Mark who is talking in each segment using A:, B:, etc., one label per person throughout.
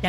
A: Ja,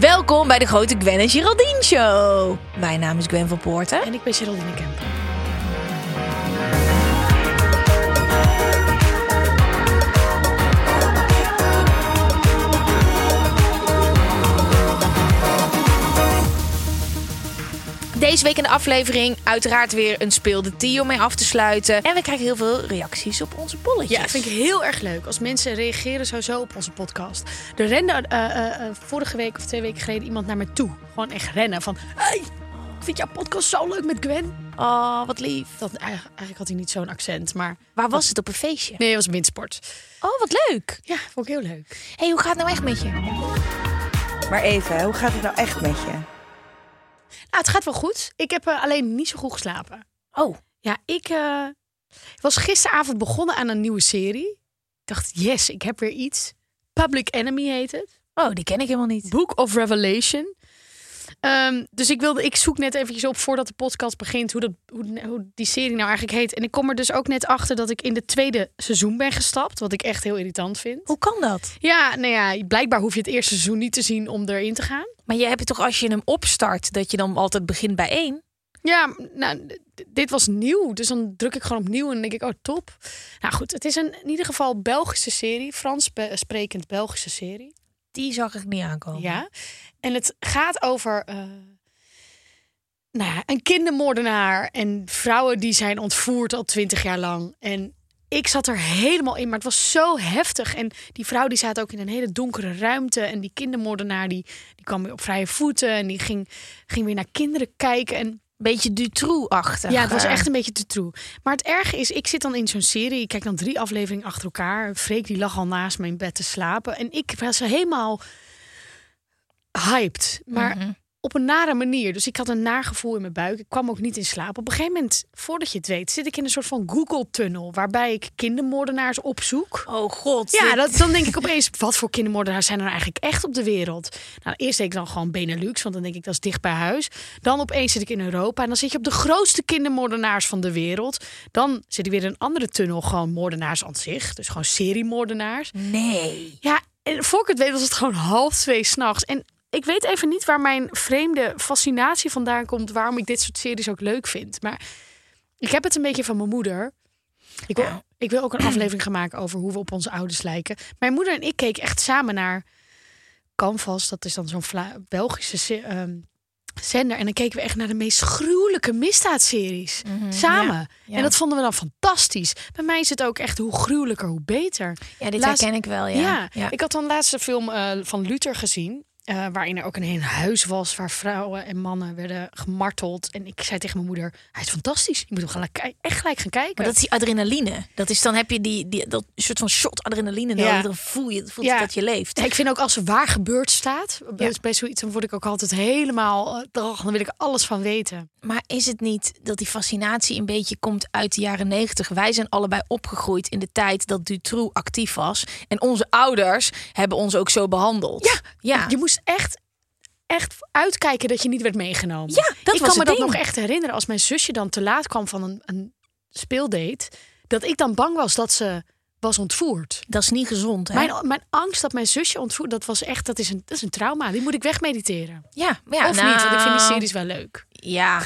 B: Welkom bij de grote Gwen en Geraldine Show. Mijn naam is Gwen van Poorten.
A: En ik ben Dus Geraldine Kemper.
B: Deze week in de aflevering uiteraard weer een speelde Tio om mee af te sluiten. En we krijgen heel veel reacties op onze polletjes.
A: Ja, dat vind ik heel erg leuk. Als mensen reageren sowieso op onze podcast. Er rende eh, eh, eh, vorige week of twee weken geleden iemand naar me toe. Gewoon echt rennen van... Hey, ik vind jouw podcast zo leuk met Gwen.
B: Oh, wat lief.
A: Dat, eigenlijk eigenlijk had hij niet zo'n accent, maar...
B: Waar was het op een feestje?
A: Nee, het was windsport.
B: Oh, wat leuk.
A: Ja, vond ik heel leuk.
B: hey, hoe gaat het nou echt met je?
C: Maar even, hoe gaat het nou echt met je?
A: Nou, het gaat wel goed. Ik heb eh, alleen niet zo goed geslapen.
B: Oh,
A: Ja, ik eh, was gisteravond begonnen aan een nieuwe serie. Ik dacht, yes, ik heb weer iets. Public Enemy heet het.
B: oh die ken ik helemaal niet.
A: Book of Revelation. Ehm, dus ik, wilde, ik zoek net eventjes op voordat de podcast begint hoe, dat, hoe, hoe die serie nou eigenlijk heet. En ik kom er dus ook net achter dat ik in het tweede seizoen ben gestapt. Wat ik echt heel irritant vind.
B: Hoe kan dat?
A: Ja, nou ja, blijkbaar hoef je het eerste seizoen niet te zien om erin te gaan.
B: Maar je hebt het toch als je hem opstart, dat je dan altijd begint bij één?
A: Ja, nou, d- dit was nieuw. Dus dan druk ik gewoon opnieuw en dan denk ik, oh top. Nou goed, het is een, in ieder geval Belgische serie. Frans be- eh, sprekend Belgische serie.
B: Die zag ik niet aankomen.
A: Ja. En het gaat over eh, nou ja, een kindermoordenaar en vrouwen die zijn ontvoerd al twintig jaar lang. En ik zat er helemaal in, maar het was zo heftig. En die vrouw die zat ook in een hele donkere ruimte. En die kindermoordenaar die, die kwam weer op vrije voeten en die ging, ging weer naar kinderen kijken. En
B: Beetje Dutroux-achtig.
A: ja, het was echt een beetje te troe. Maar het erge is, ik zit dan in zo'n serie. Ik kijk dan drie afleveringen achter elkaar. Freek die lag al naast me in bed te slapen. En ik was helemaal hyped. Maar op een nare manier. Dus ik had een naar gevoel in mijn buik. Ik kwam ook niet in slaap. Op een gegeven moment, voordat je het weet, zit ik in een soort van Google-tunnel. Waarbij ik kindermoordenaars opzoek.
B: Oh god.
A: Ja,
B: dit-
A: dat, dan denk ik opeens, wat voor kindermoordenaars zijn er nou eigenlijk echt op de wereld? Nou, eerst denk ik dan gewoon Benelux, want dan denk ik dat is dicht bij huis. Dan opeens zit ik in Europa en dan zit je op de grootste kindermoordenaars van de wereld. Dan zit ik weer in een andere tunnel, gewoon moordenaars aan zich. Dus gewoon seriemoordenaars.
B: Nee.
A: Ja, en voor ik het weet was het gewoon half twee s'nachts. En ik weet even niet waar mijn vreemde fascinatie vandaan komt, waarom ik dit soort series ook leuk vind. Maar ik heb het een beetje van mijn moeder. Ik wil, ik wil ook een aflevering gaan maken over hoe we op onze ouders lijken. Mijn moeder en ik keken echt samen naar Canvas. Dat is dan zo'n Vla- Belgische se- ehm, zender. En dan keken we echt naar de meest gruwelijke misdaadseries. samen.
B: Mhm, ja.
A: En dat vonden we dan fantastisch. Bij mij is het ook echt hoe gruwelijker, hoe beter.
B: Ja, dit
A: Laatst-
B: herken ik wel, ja.
A: ja. ik had dan laatste film eh, van Luther gezien. eh, waarin er ook een heel huis was waar vrouwen en mannen werden gemarteld. En ik zei tegen mijn moeder: Hij is fantastisch. Je moet hem gelijk, ki- echt gelijk gaan kijken.
B: Maar dat is die adrenaline. Dat is dan heb je die, die dat soort van shot adrenaline
A: Ja.
B: nodig. Dan voel je voelt
A: Ja.
B: dat je leeft.
A: Ja, ik vind ook als er waar gebeurd staat, bij- bij zoiets, dan word ik ook altijd helemaal. eh, oh, dan wil ik alles van weten.
B: Maar is het niet dat die fascinatie een beetje komt uit de jaren negentig? Wij zijn allebei opgegroeid in de tijd dat Dutroux actief was. En onze ouders hebben ons ook zo behandeld.
A: Ja,
B: ja.
A: Je moest echt, echt uitkijken dat je niet werd meegenomen.
B: Ja, dat
A: ik
B: was
A: kan me
B: het
A: dat
B: ding.
A: nog echt herinneren. Als mijn zusje dan te laat kwam van een, een speeldate, dat ik dan bang was dat ze was ontvoerd.
B: Dat is niet gezond, hè?
A: Mijn, mijn angst dat mijn zusje ontvoerd, dat was echt, dat is een, dat is een trauma. Die moet ik wegmediteren.
B: Ja, maar ja,
A: of niet, want ik vind die
B: nou,
A: series wel leuk.
B: Ja,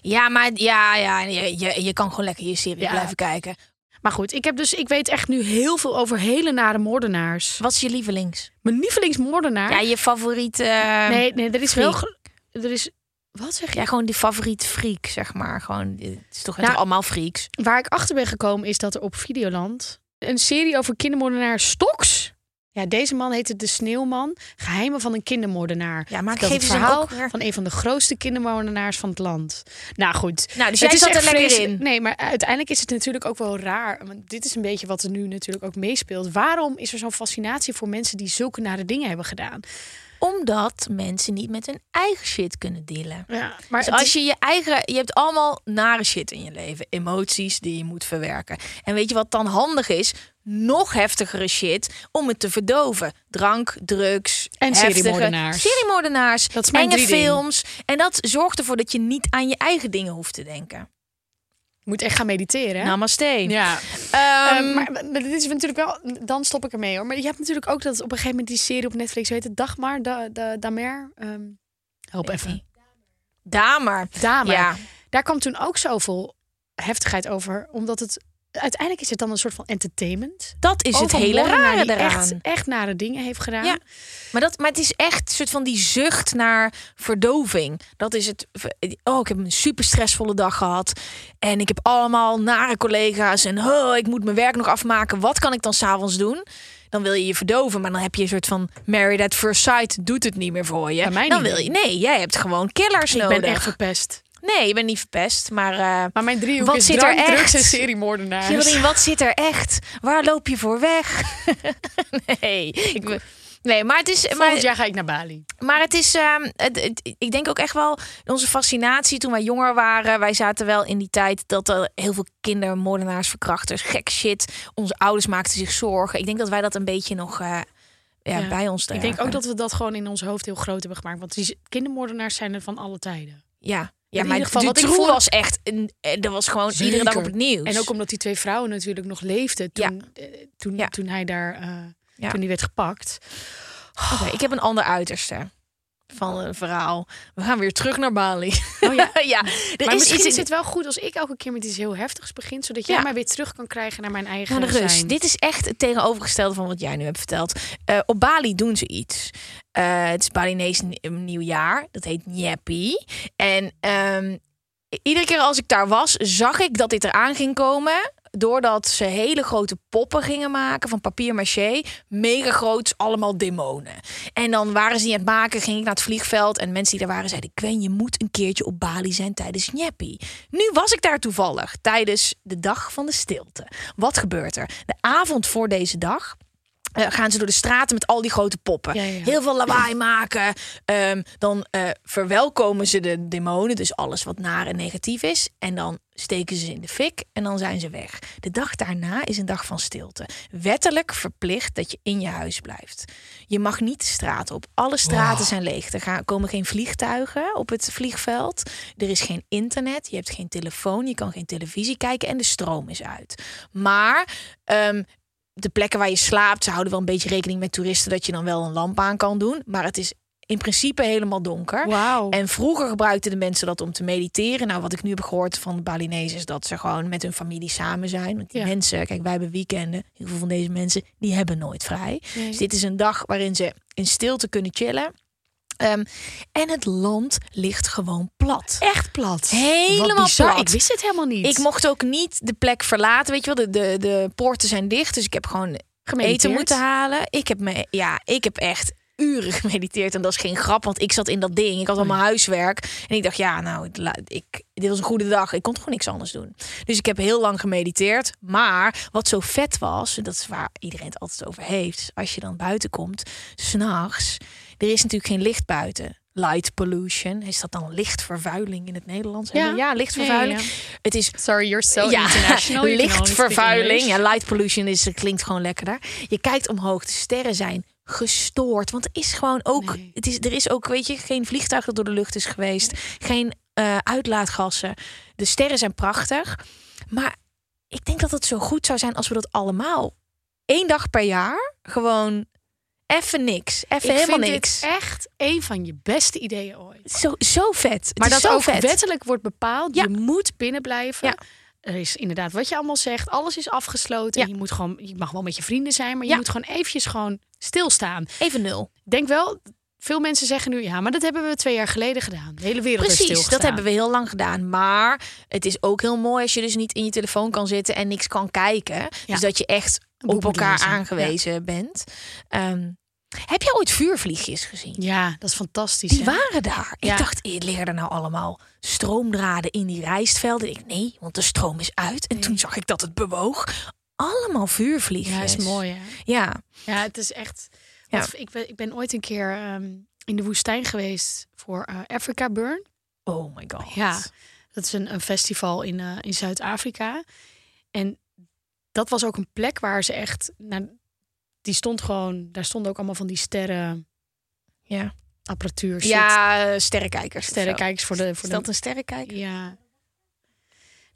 B: ja maar ja, ja, je, je, je kan gewoon lekker je serie
A: Ja.
B: blijven kijken.
A: Maar goed, ik, heb dus, ik weet echt nu heel veel over hele nare moordenaars.
B: Wat is je lievelings?
A: Mijn lievelingsmoordenaar.
B: Ja, je favoriete... eh,
A: nee, nee, er is
B: freak.
A: wel. ge- Er is. Wat zeg je?
B: Ja, gewoon die favoriete freak, zeg maar. Gewoon, het is toch
A: Nou,
B: allemaal freaks?
A: Waar ik achter ben gekomen is dat er op Videoland een serie over kindermoordenaar Stoks. Ja, deze man heette De Sneeuwman. Geheimen van een kindermoordenaar.
B: Ja, maar
A: Dat is
B: geven ze
A: het
B: hem
A: verhaal
B: ook weer-
A: van een van de grootste kindermoordenaars van het land. Nou goed.
B: Nou, dus
A: Het is
B: jij zat er
A: echt
B: lekker
A: vreselijk.
B: in.
A: Nee, maar uiteindelijk is het natuurlijk ook wel raar. Want dit is een beetje wat er nu natuurlijk ook meespeelt. Waarom is er zo'n fascinatie voor mensen die zulke nare dingen hebben gedaan?
B: Omdat mensen niet met hun eigen shit kunnen dealen.
A: Ja, maar
B: Dus als je je eigen, je hebt allemaal nare shit in je leven, emoties die je moet verwerken. En weet je wat dan handig is? Nog heftigere shit om het te verdoven. Drank, drugs
A: En
B: heftige-
A: seriemoordenaars.
B: seriemoordenaars,
A: Dat is mijn
B: enge
A: drieding.
B: films. En dat zorgt ervoor dat je niet aan je eigen dingen hoeft te denken.
A: moet echt gaan mediteren. hè?
B: Namaste.
A: ja.
B: Ehm,
A: Ehm, maar, maar dit is natuurlijk wel. Dan stop ik ermee hoor. Maar je hebt natuurlijk ook dat op een gegeven moment die serie op Netflix, weet het, Dagmar, da, da, Damer. ehm, help even.
B: Damer.
A: Damer.
B: Ja.
A: Daar kwam toen ook zoveel heftigheid over, omdat het uiteindelijk is het dan een soort van entertainment.
B: Dat is het
A: Over een
B: hele
A: moordenaar
B: rare
A: die
B: eraan.
A: Echt, echt nare dingen heeft gedaan.
B: Ja. Maar, dat, maar het is echt een soort van die zucht naar verdoving. Dat is het. Oh, ik heb een super stressvolle dag gehad. En ik heb allemaal nare collega's. En oh, ik moet mijn werk nog afmaken. Wat kan ik dan s'avonds doen? Dan wil je je verdoven. Maar dan heb je een soort van Married at First Sight doet het niet meer voor je.
A: Bij mij
B: dan
A: niet
B: wil je. Nee, jij hebt gewoon killers
A: Ik
B: nodig.
A: ben echt verpest.
B: Nee, je bent niet verpest. Maar, eh,
A: Maar mijn driehoek
B: Wat
A: is
B: zit er
A: drank,
B: echt?
A: drugs en seriemoordenaars.
B: Geraldine, wat zit er echt? Waar loop je voor weg? nee. Ik, ben- nee, maar het is. Maar,
A: Volgend jaar ga ik naar Bali.
B: Maar het is, ehm, het, het- ik denk ook echt wel onze fascinatie toen wij jonger waren. Wij zaten wel in die tijd dat er heel veel kindermoordenaars, verkrachters, gek shit. Onze ouders maakten zich zorgen. Ik denk dat wij dat een beetje nog eh, ja,
A: Ja.
B: bij ons
A: Ik
B: dragen.
A: denk ook dat we dat gewoon in ons hoofd heel groot hebben gemaakt. Want die kindermoordenaars zijn er van alle tijden.
B: Ja, ja
A: ieder
B: maar
A: geval
B: die
A: wat ik
B: troe
A: voor-
B: was echt, een, eh, dat was gewoon iedere dag op
A: Zeker.
B: het nieuws.
A: En ook omdat die twee vrouwen natuurlijk nog leefden toen, eh, toen,
B: Dus- Ja.
A: toen hij daar, eh,
B: Ja.
A: toen die werd gepakt.
B: Oké, ik heb een ander uiterste van een verhaal. We gaan weer terug naar Bali.
A: Oh ja.
B: ja, er
A: maar
B: is
A: misschien
B: iets
A: is
B: in-
A: het wel goed als ik elke keer met iets heel heftigs begin. Zodat jij
B: Ja.
A: mij weer terug kan krijgen naar mijn eigen
B: Naar de rust.
A: zijn.
B: Dit is echt het tegenovergestelde van wat jij nu hebt verteld. Eh, op Bali doen ze iets. Eh, het is Balinees n- nieuwjaar. Dat heet Nyepi. En ehm, iedere keer als ik daar was, zag ik dat dit eraan ging komen. Doordat ze hele grote poppen gingen maken van papier maché. Mega groot, allemaal demonen. En dan waren ze die aan het maken, ging ik naar het vliegveld. En mensen die daar waren zeiden: Gwen, je moet een keertje op Bali zijn tijdens Nyepi. Nu was ik daar toevallig tijdens de dag van de stilte. Wat gebeurt er? De avond voor deze dag. eh, gaan ze door de straten met al die grote poppen.
A: Ja, ja.
B: Heel veel lawaai maken. Ehm, dan eh, verwelkomen ze de demonen, dus alles wat naar en negatief is. En dan steken ze ze in de fik en dan zijn ze weg. De dag daarna is een dag van stilte. Wettelijk verplicht dat je in je huis blijft. Je mag niet de straat op. Alle straten zijn leeg. Er gaan, komen geen vliegtuigen op het vliegveld. Er is geen internet. Je hebt geen telefoon. Je kan geen televisie kijken. En de stroom is uit. Maar ehm, de plekken waar je slaapt, ze houden wel een beetje rekening met toeristen dat je dan wel een lamp aan kan doen. Maar het is in principe helemaal donker.
A: Wauw.
B: En vroeger gebruikten de mensen dat om te mediteren. Nou, wat ik nu heb gehoord van de Balinezen is dat ze gewoon met hun familie samen zijn. Want die
A: Ja.
B: mensen, kijk, wij hebben weekenden. Heel veel van deze mensen, die hebben nooit vrij.
A: Nee.
B: Dus dit is een dag waarin ze in stilte kunnen chillen. Ehm, en het land ligt gewoon plat.
A: Echt plat.
B: Helemaal
A: Wat bizar.
B: plat.
A: Ik wist het helemaal niet.
B: Ik mocht ook niet de plek verlaten, weet je wel. De, de, de poorten zijn dicht, dus ik heb gewoon
A: Gemediteerd.
B: eten moeten halen. Ik heb, me, ja, ik heb echt uren gemediteerd en dat is geen grap, want ik zat in dat ding. Ik had al mijn huiswerk en ik dacht, ja, nou, het la- ik, dit was een goede dag. Ik kon gewoon niks anders doen. Dus ik heb heel lang gemediteerd. Maar wat zo vet was, en dat is waar iedereen het altijd over heeft, als je dan buiten komt, s'nachts, er is natuurlijk geen licht buiten. Light pollution. Is dat dan lichtvervuiling in het Nederlands?
A: Ja.
B: Ja, ja lichtvervuiling.
A: Ja, ja,
B: Het is
A: Sorry, you're so
B: ja,
A: international. You can only speak
B: lichtvervuiling.
A: English.
B: Ja, light pollution is, eh, klinkt gewoon lekkerder. Je kijkt omhoog, de sterren zijn gestoord. Want er is gewoon ook,
A: Nee.
B: het is, er is ook, weet je, geen vliegtuig dat door de lucht is geweest. Geen eh, uitlaatgassen. De sterren zijn prachtig. Maar ik denk dat het zo goed zou zijn als we dat allemaal één dag per jaar gewoon even niks. Even
A: ik
B: helemaal
A: vind
B: niks.
A: dit echt een van je beste ideeën ooit.
B: Zo, zo vet.
A: Maar
B: Het is
A: dat
B: zo
A: ook
B: vet.
A: wettelijk wordt bepaald.
B: Ja.
A: Je moet binnen blijven.
B: Ja.
A: Er is inderdaad wat je allemaal zegt. Alles is afgesloten.
B: Ja.
A: Je, moet gewoon, je mag wel met je vrienden zijn, maar je
B: Ja.
A: moet gewoon eventjes gewoon stilstaan.
B: Even nul.
A: Denk wel, veel mensen zeggen nu... ja, maar dat hebben we twee jaar geleden gedaan. De hele wereld is
B: Precies,
A: stilgestaan.
B: dat hebben we heel lang gedaan. Maar het is ook heel mooi als je dus niet in je telefoon kan zitten en niks kan kijken. Dus dat je echt
A: Een boek
B: op
A: moet
B: elkaar
A: lezen.
B: aangewezen bent. Ehm, heb jij ooit vuurvliegjes gezien?
A: Ja, dat is fantastisch.
B: Die
A: hè?
B: waren daar.
A: Ja.
B: Ik dacht, ik leerde nou allemaal stroomdraden in die rijstvelden. Ik nee, want de stroom is uit. En toen zag ik dat het bewoog. Allemaal vuurvliegjes.
A: Ja, is mooi hè?
B: Ja,
A: Ja, het is echt...
B: Ja.
A: want Ik, ben, ik ben ooit een keer ehm, in de woestijn geweest voor eh, Africa Burn.
B: oh my god.
A: Ja, dat is een, een festival in, eh, in Zuid-Afrika. En dat was ook een plek waar ze echt. Nou, die stond gewoon, daar stonden ook allemaal van die sterren,
B: ja.
A: apparatuur, shit.
B: ja eh, sterrenkijkers. of zo.
A: sterrenkijkers voor de. Voor
B: Is dat
A: de
B: een sterrenkijker?
A: ja.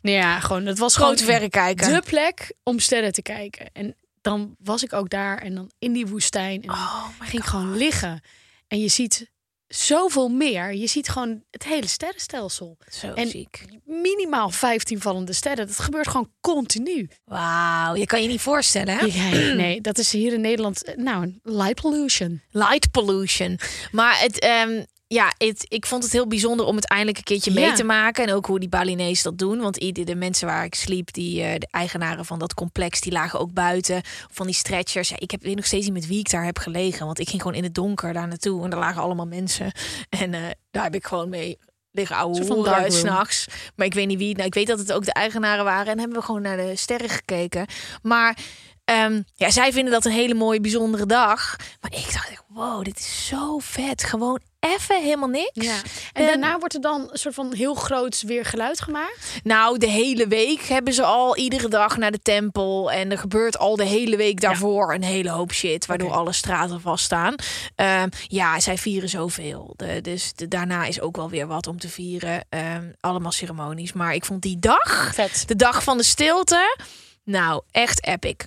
A: Nou ja, gewoon, het was
B: Groot
A: gewoon
B: verrekijker.
A: de plek om sterren te kijken. En dan was ik ook daar en dan in die woestijn. En dan
B: Oh my
A: ging ik
B: god.
A: gewoon liggen. En je ziet zoveel meer. Je ziet gewoon het hele sterrenstelsel.
B: Zo
A: En-
B: ziek.
A: minimaal 15 vallende sterren. Dat gebeurt gewoon continu.
B: Wauw, je kan je niet voorstellen, hè?
A: Nee, nee, dat is hier in Nederland eh, nou een light pollution.
B: Light pollution. Maar het, ehm, ja, het, ik vond het heel bijzonder om het eindelijk een keertje mee
A: Ja.
B: te maken. En ook hoe die Balinees dat doen. Want ieder, de mensen waar ik sliep, die, eh, de eigenaren van dat complex, die lagen ook buiten. Van die stretchers. Ja, ik heb, weet nog steeds niet met wie ik daar heb gelegen. Want ik ging gewoon in het donker daar naartoe. En daar lagen allemaal mensen. En eh, daar heb ik gewoon mee liggen ouwe
A: Een soort van
B: hoeren
A: darkroom.
B: s'nachts. Maar ik weet niet wie. het- Nou, ik weet dat het ook de eigenaren waren. En hebben we gewoon naar de sterren gekeken. Maar ehm, ja, zij vinden dat een hele mooie, bijzondere dag. Maar ik dacht, echt, wow, dit is zo vet. Gewoon even helemaal niks.
A: En daarna wordt er dan een soort van heel groots weer geluid gemaakt.
B: Nou, de hele week hebben ze al iedere dag naar de tempel. En er gebeurt al de hele week daarvoor een hele hoop shit. Waardoor
A: Oké.
B: alle straten vaststaan. Ehm, ja, zij vieren zoveel. De- dus de- daarna is ook wel weer wat om te vieren. Ehm, allemaal ceremonies. Maar ik vond die dag,
A: Vet.
B: de dag van de stilte, nou echt epic.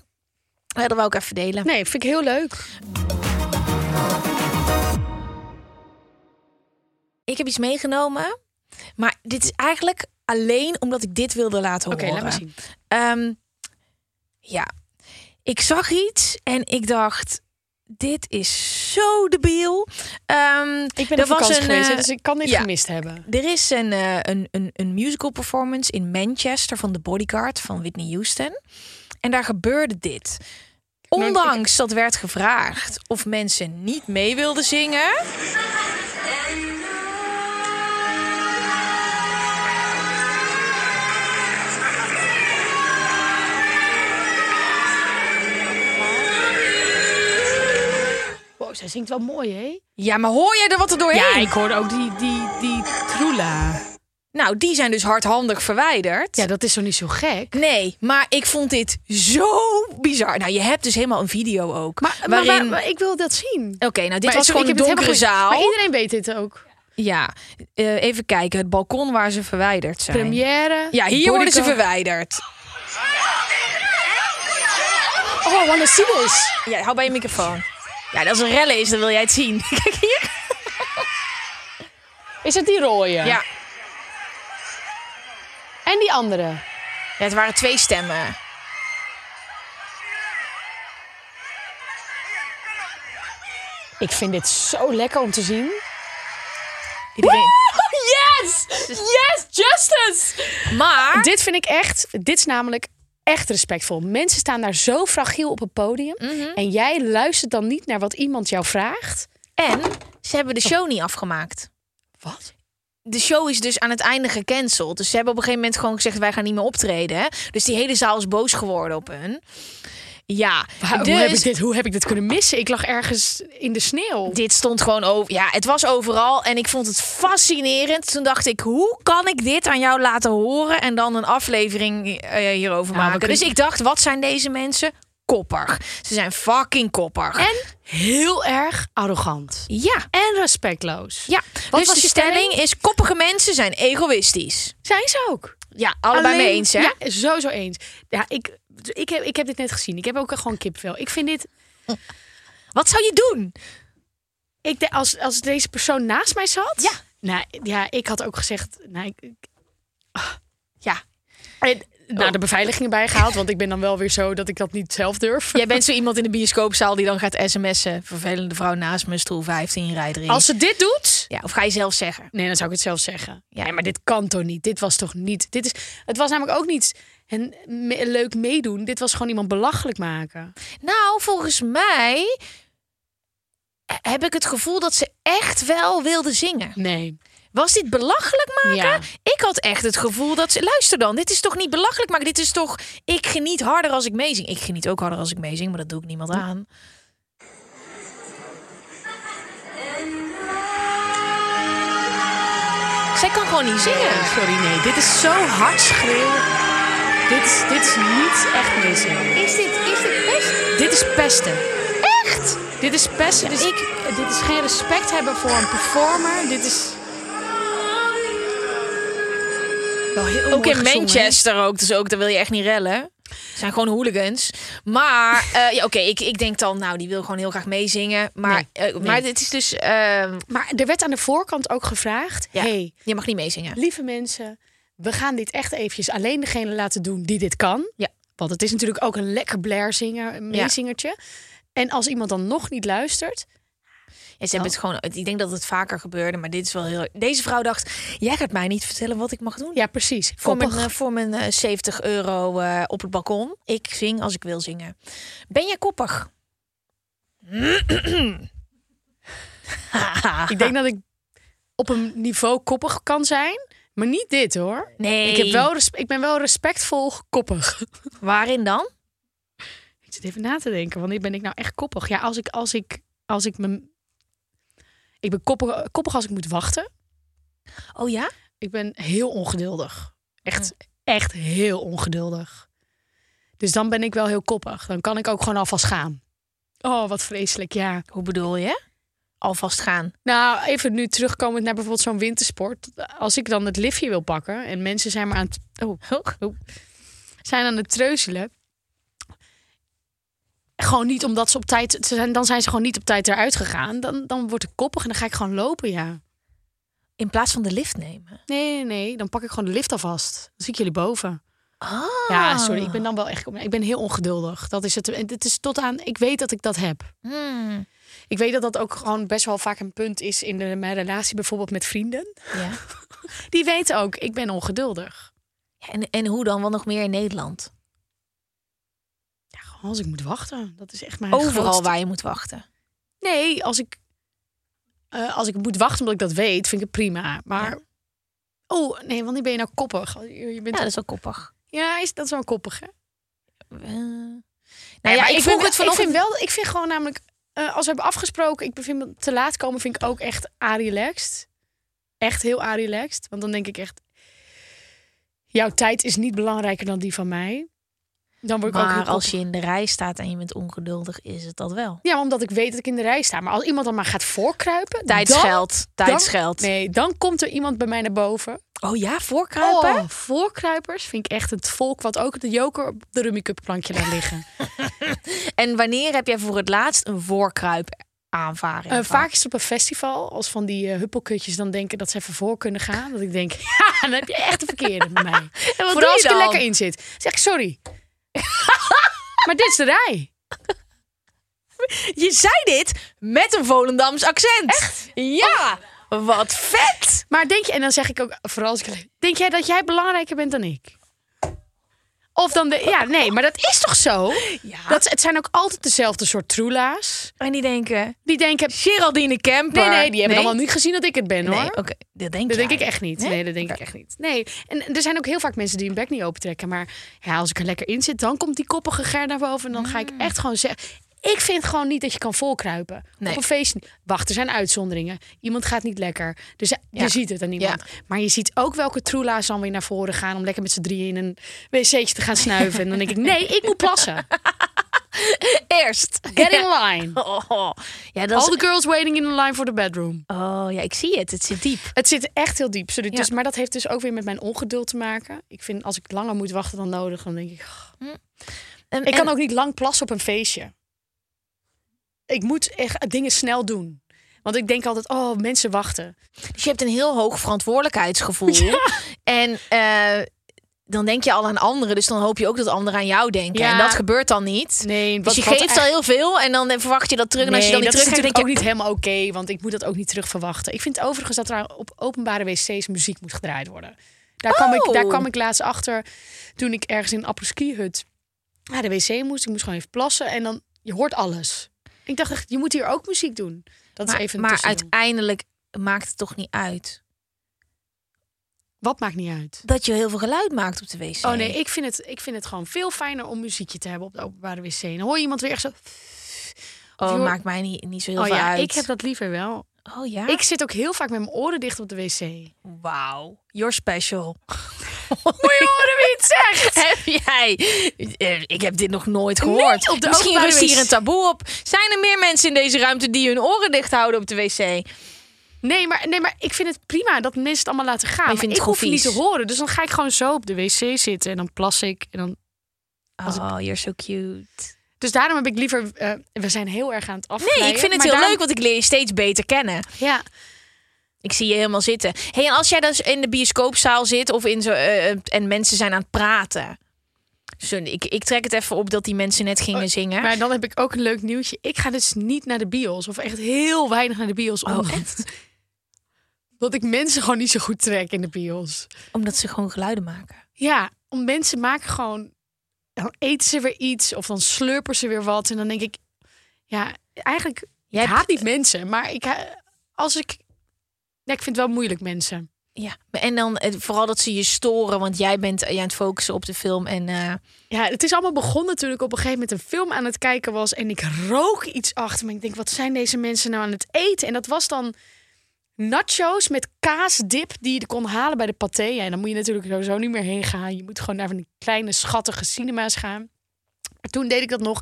B: Ja, dat wou ik even delen.
A: Nee, vind ik heel leuk.
B: Ik heb iets meegenomen. Maar dit is eigenlijk alleen omdat ik dit wilde laten
A: Oké,
B: horen.
A: laat maar zien.
B: Ehm, ja, ik zag iets en ik dacht, dit is zo debiel. Ehm,
A: Ik ben
B: er
A: op vakantie geweest, hè,
B: eh,
A: dus ik kan dit
B: ja.
A: gemist hebben.
B: er is een, eh, een, een, een musical performance in Manchester van The Bodyguard van Whitney Houston. En daar gebeurde dit.
A: nooit- ik-
B: Ondanks dat werd gevraagd of mensen niet mee wilden zingen.
A: Wow, zij zingt wel mooi, hè?
B: Ja, maar hoor jij er wat er doorheen?
A: hoorde ook die, die, die troela.
B: Nou, die zijn dus hardhandig verwijderd.
A: Ja, dat is toch niet zo gek?
B: Nee, maar ik vond dit zo bizar. Nou, je hebt dus helemaal een video ook.
A: Maar,
B: waarin...
A: maar, maar ik wil dat zien.
B: Oké, nou, dit
A: Maar
B: was
A: sorry,
B: gewoon
A: ik heb
B: een
A: het helemaal
B: donkere
A: gemist.
B: zaal.
A: Maar iedereen weet dit ook.
B: Ja, eh, even kijken. Het balkon waar ze verwijderd zijn.
A: Première.
B: Ja, hier worden ze
A: Bodyguard.
B: verwijderd.
A: Oh, wanna see this?
B: Ja, hou bij je microfoon. Ja, als er rellen is, dan wil jij het zien. Kijk hier.
A: Is het die rode?
B: Ja,
A: En die andere?
B: het waren twee stemmen.
A: Ik vind dit zo lekker om te zien.
B: Iedereen.
A: Yes! Yes, justice!
B: Maar
A: Dit vind ik echt, dit is namelijk echt respectvol. Mensen staan daar zo fragiel op het podium. En jij luistert dan niet naar wat iemand jou vraagt.
B: En ze hebben de show niet afgemaakt.
A: Wat?
B: De show is dus aan het einde gecanceld. Dus ze hebben op een gegeven moment gewoon gezegd: wij gaan niet meer optreden. Dus die hele zaal is boos geworden op hun. Ja,
A: Ah, hoe, heb
B: dus-
A: ik dit, hoe heb ik dit kunnen missen? Ik lag ergens in de sneeuw.
B: Dit stond gewoon over. Ja, het was overal en ik vond het fascinerend. Toen dacht ik, hoe kan ik dit aan jou laten horen en dan een aflevering eh, hierover
A: Ja, we
B: maken?
A: kunnen-
B: Dus ik dacht, wat zijn deze mensen? Koppig. Ze zijn fucking koppig.
A: En heel erg arrogant.
B: Ja.
A: En respectloos.
B: Ja, dus
A: was
B: de
A: je
B: stelling?
A: stelling?
B: is: koppige mensen zijn egoïstisch.
A: Zijn ze ook?
B: Ja, allebei
A: Alleen-
B: mee eens, hè?
A: Ja, sowieso eens. Ja, ik, Dus ik, heb, ik heb dit net gezien. Ik heb ook gewoon kipvel. Ik vind dit.
B: Wat zou je doen?
A: Ik de, als, als deze persoon naast mij zat.
B: Ja.
A: Nou ja, ik had ook gezegd. Nou, ik, ik- ah, ja. nou,
B: Oh.
A: de beveiliging erbij gehaald. Want ik ben dan wel weer zo dat ik dat niet zelf durf.
B: Jij bent zo iemand in de bioscoopzaal die dan gaat sms'en. Vervelende vrouw naast me, stoel 15, rij 3.
A: Als ze dit doet.
B: Ja, of ga je zelf zeggen.
A: Nee, dan zou ik het zelf zeggen.
B: Ja.
A: Ja, maar dit kan toch niet? Dit was toch niet. Dit is, het was namelijk ook niet een me- leuk meedoen. Dit was gewoon iemand belachelijk maken.
B: Nou, volgens mij eh, heb ik het gevoel dat ze echt wel wilde zingen.
A: Nee.
B: Was dit belachelijk maken?
A: Ja.
B: Ik had echt het gevoel dat ze... Luister dan, dit is toch niet belachelijk maken? Dit is toch... Ik geniet harder als ik meezing. Ik geniet ook harder als ik meezing, maar dat doe ik niemand aan. Zij kan gewoon niet zingen.
A: Sorry, nee. Dit is zo hard schreeuwen. Dit is, dit is niet echt meezingen.
B: Is dit, is dit best?
A: Dit is pesten.
B: Echt?
A: Dit is pesten. dus ik, dit is geen respect hebben voor een performer. Dit is. Wel heel
B: Ook
A: mooi
B: in
A: gezongen, hè?
B: Manchester ook, dus ook, daar wil je echt niet rellen. Het zijn gewoon hooligans. Maar, eh, ja, oké, ik, ik denk dan, nou, die wil gewoon heel graag meezingen. Maar,
A: Nee,
B: eh,
A: nee.
B: maar dit is dus, ehm,
A: Maar er werd aan de voorkant ook gevraagd:
B: ja,
A: hey,
B: je mag niet meezingen.
A: lieve mensen, we gaan dit echt eventjes alleen degene laten doen die dit kan.
B: Ja.
A: Want het is natuurlijk ook een lekker blairzinger, een
B: Ja.
A: meezingertje. En als iemand dan nog niet luistert,
B: En ze hebben het gewoon, ik denk dat het vaker gebeurde, maar dit is wel heel... Deze vrouw dacht, jij gaat mij niet vertellen wat ik mag doen.
A: ja precies,
B: Voor mijn,
A: koppig.
B: eh, voor mijn eh, 70 euro eh, op het balkon. Ik zing als ik wil zingen. Ben jij koppig?
A: Ik denk dat ik op een niveau koppig kan zijn, maar niet dit hoor.
B: Nee.
A: Ik, heb wel respe- ik ben wel respectvol koppig.
B: Waarin dan?
A: Ik zit even na te denken, wanneer ben ik nou echt koppig? Ja, als ik, als ik, als ik me... Ik ben koppig, koppig als ik moet wachten.
B: Oh ja?
A: Ik ben heel ongeduldig. Echt, echt heel ongeduldig. Dus dan ben ik wel heel koppig. Dan kan ik ook gewoon alvast gaan. Oh, wat vreselijk, ja.
B: Hoe bedoel je? Alvast gaan.
A: Nou, even nu terugkomend naar bijvoorbeeld zo'n wintersport. Als ik dan het liftje wil pakken en mensen zijn maar aan het, oh, oh, zijn aan het treuzelen. Gewoon niet omdat ze op tijd. Ze zijn, dan zijn ze gewoon niet op tijd eruit gegaan. Dan, dan word ik koppig en dan ga ik gewoon lopen, ja.
B: In plaats van de lift nemen.
A: Nee, nee, nee. Dan pak ik gewoon de lift alvast. Dan zie ik jullie boven.
B: Ah.
A: Ja, sorry. Ik ben dan wel echt. Ik ben heel ongeduldig. Dat is het. En dit is tot aan. Ik weet dat ik dat heb.
B: Hmm.
A: Ik weet dat dat ook gewoon best wel vaak een punt is in de, mijn relatie, bijvoorbeeld met vrienden.
B: Ja.
A: Die weten ook, ik ben ongeduldig.
B: Ja, En, en hoe dan? Wat nog meer in Nederland?
A: Ja, gewoon als ik moet wachten. Dat is echt mijn
B: Overal
A: grootste-
B: waar je moet wachten.
A: Nee, als ik, eh, als ik moet wachten omdat ik dat weet, vind ik het prima. Maar, oh nee, wanneer ben je nou koppig? Je je bent,
B: Ja,
A: ja,
B: dat is wel koppig.
A: is, dat is wel koppig, hè?
B: Eh, nou
A: Nee,
B: ja,
A: maar
B: ik vroeg
A: ben-
B: het vanochtend.
A: Ik vind, wel, ik vind gewoon namelijk, eh, als we hebben afgesproken, ik bevind me te laat komen, vind ik ook echt a-relaxed. Echt heel a-relaxed. Want dan denk ik echt, jouw tijd is niet belangrijker dan die van mij. Dan word ik ook
B: maar
A: heel
B: als je in de rij staat en je bent ongeduldig, is het dat wel.
A: Ja, maar omdat ik weet dat ik in de rij sta. Maar als iemand dan maar gaat voorkruipen... dan-
B: Tijdsgeld. Tijdsgeld.
A: Dan, nee, dan komt er iemand bij mij naar boven.
B: Oh ja, voorkruipen?
A: Oh, voorkruipers vind ik echt het volk... wat ook de joker op de Rummy Cup plankje laat liggen.
B: En wanneer heb jij voor het laatst een voorkruip aanvaring?
A: Eh, vaak is het op een festival, als van die eh, huppelkutjes dan denken dat ze even voor kunnen gaan. Dat ik denk, ja, dan heb je echt de verkeerde bij mij.
B: En wat doe
A: Vooral
B: je
A: als ik er
B: dan?
A: lekker in zit. Zeg ik, sorry. maar dit is de rij.
B: Je zei dit met een Volendams accent. Echt? Oh. Ja. Wat vet.
A: Maar denk je, en dan zeg ik ook, vooral als ik... Denk jij dat jij belangrijker bent dan ik? Of dan de... Ja, nee, maar dat is toch zo?
B: Ja.
A: Dat, het zijn ook altijd dezelfde soort troela's.
B: en die denken,
A: Die denken...
B: Geraldine Kemper.
A: Nee, nee, die hebben allemaal niet gezien dat ik het ben, hoor.
B: Nee, oké, dat denk,
A: Dat
B: jij.
A: denk ik echt niet.
B: Nee?
A: Nee, dat denk ik echt niet. Nee, en er zijn ook heel vaak mensen die hun bek niet opentrekken. Maar ja, als ik er lekker in zit, dan komt die koppige ger naar boven. En dan ga ik
B: Mm.
A: echt gewoon zeggen... Ik vind gewoon niet dat je kan volkruipen.
B: Nee.
A: Op een feest niet. Wacht, er zijn uitzonderingen. Iemand gaat niet lekker. Dus je ziet het aan iemand. Maar je ziet ook welke troela's dan weer naar voren gaan... om lekker met z'n drieën in een wc'tje te gaan snuiven. En dan denk ik, nee, ik moet plassen.
B: Eerst.
A: Get in line.
B: Oh, ja, dat
A: All
B: is,
A: the girls waiting in line for the bedroom.
B: oh, ja, ik zie het. Het zit diep.
A: Het zit echt heel diep. sorry.
B: Ja.
A: Dus, maar dat heeft dus ook weer met mijn ongeduld te maken. Ik vind als ik langer moet wachten dan nodig, dan denk ik. "Goh."
B: En-
A: Ik
B: en-
A: kan ook niet lang plassen op een feestje. Ik moet echt dingen snel doen. Want ik denk altijd, oh, mensen wachten.
B: Dus je hebt een heel hoog verantwoordelijkheidsgevoel. En eh, dan denk je al aan anderen. Dus dan hoop je ook dat anderen aan jou denken.
A: Ja.
B: En dat gebeurt dan niet.
A: Nee,
B: Dus je geeft al heel veel en dan eh, verwacht je dat terug. en als je dan niet
A: dat is
B: terug krijgt,
A: natuurlijk
B: denk
A: ook
B: je...
A: niet helemaal oké, want ik moet dat ook niet terug verwachten. Ik vind overigens dat er op openbare wc's muziek moet gedraaid worden. Daar, kwam, ik,
B: Oh.
A: daar kwam ik laatst achter toen ik ergens in een apres-ski hut naar de wc moest. Ik moest gewoon even plassen en dan, je hoort alles. Ik dacht echt, je moet hier ook muziek doen. Dat
B: Maar,
A: is even een
B: maar
A: tussendoor.
B: uiteindelijk maakt het toch niet uit
A: Wat maakt niet uit.
B: dat je heel veel geluid maakt op de wc.
A: Oh nee, ik vind, het, ik vind het gewoon veel fijner om muziekje te hebben op de openbare wc. Dan hoor je iemand weer echt zo...
B: Oh,
A: je hoort-
B: maakt mij niet, niet zo heel
A: Oh
B: veel
A: ja,
B: uit.
A: ik heb dat liever wel.
B: Oh ja?
A: Ik zit ook heel vaak met mijn oren dicht op de wc.
B: Wauw, you're special.
A: Moet je horen wie het zegt?
B: heb jij... Eh, Ik heb dit nog nooit gehoord.
A: Niet op de
B: Misschien
A: openbare
B: rust hier
A: wc.
B: een taboe op. Zijn er meer mensen in deze ruimte die hun oren dicht houden op de wc?
A: Nee maar, nee, maar ik vind het prima dat mensen het allemaal laten gaan.
B: Maar
A: Maar
B: je vindt
A: ik
B: het
A: hoef
B: gewoon
A: het niet te
B: vies.
A: horen. Dus dan ga ik gewoon zo op de wc zitten en dan plas ik. En dan... Als ik-
B: Oh, you're so cute.
A: Dus daarom heb ik liever... eh, we zijn heel erg aan het
B: Nee,
A: afglijden.
B: ik vind het
A: maar
B: heel
A: daarom-
B: leuk, want ik leer je steeds beter kennen.
A: Ja.
B: Ik zie je helemaal zitten. hey, en als jij dus in de bioscoopzaal zit of in zo, eh, eh, en mensen zijn aan het praten. Zo, ik, ik trek het even op dat die mensen net gingen
A: Oh,
B: zingen.
A: Maar dan heb ik ook een leuk nieuwtje. Ik ga dus niet naar de bios. Of echt heel weinig naar de bios.
B: Oh,
A: omdat-
B: echt?
A: Dat ik mensen gewoon niet zo goed trek in de bios.
B: Omdat ze gewoon geluiden maken.
A: Ja, om mensen maken gewoon... Dan eten ze weer iets of dan slurpen ze weer wat. En dan denk ik... Ja, eigenlijk
B: Jij
A: ik
B: hebt-
A: haat niet mensen, maar ik, ha- als ik... Nee, ik vind het wel moeilijk mensen.
B: Ja. En dan eh, vooral dat ze je storen, want jij bent eh, je aan het focussen op de film. En eh,
A: Ja, het is allemaal begonnen toen ik op een gegeven moment een film aan het kijken was. En ik rook iets achter me. Ik denk, wat zijn deze mensen nou aan het eten? En dat was dan nachos met kaasdip die je kon halen bij de paté. Ja, en dan moet je natuurlijk sowieso niet meer heen gaan. Je moet gewoon naar van die kleine schattige cinema's gaan. Maar toen deed ik dat nog.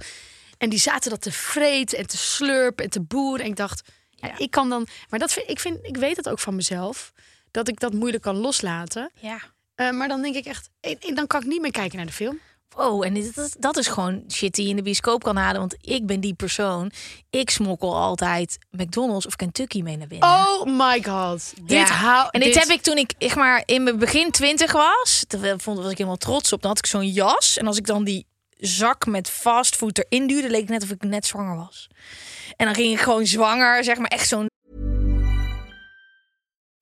A: En die zaten dat te vreten en te slurpen en te boeren. En ik dacht, ja, ik kan dan... Maar dat vind, ik, vind, ik weet het ook van mezelf. Dat ik dat moeilijk kan loslaten.
B: ja.
A: Eh, maar dan denk ik echt, en- en dan kan ik niet meer kijken naar de film.
B: Wow, en dit- dat, dat is gewoon shit die je in de bioscoop kan halen. Want ik ben die persoon. Ik smokkel altijd McDonald's of Kentucky mee naar binnen.
A: Oh my god. Dit
B: Ja.
A: hou
B: En dit, heb ik toen ik zeg maar in mijn begin twintig was. Daar vond was ik helemaal trots op. Dan had ik zo'n jas en als ik dan die zak met fastfood erin duwde, leek het net of ik net zwanger was. En dan ging ik gewoon zwanger, zeg maar echt zo'n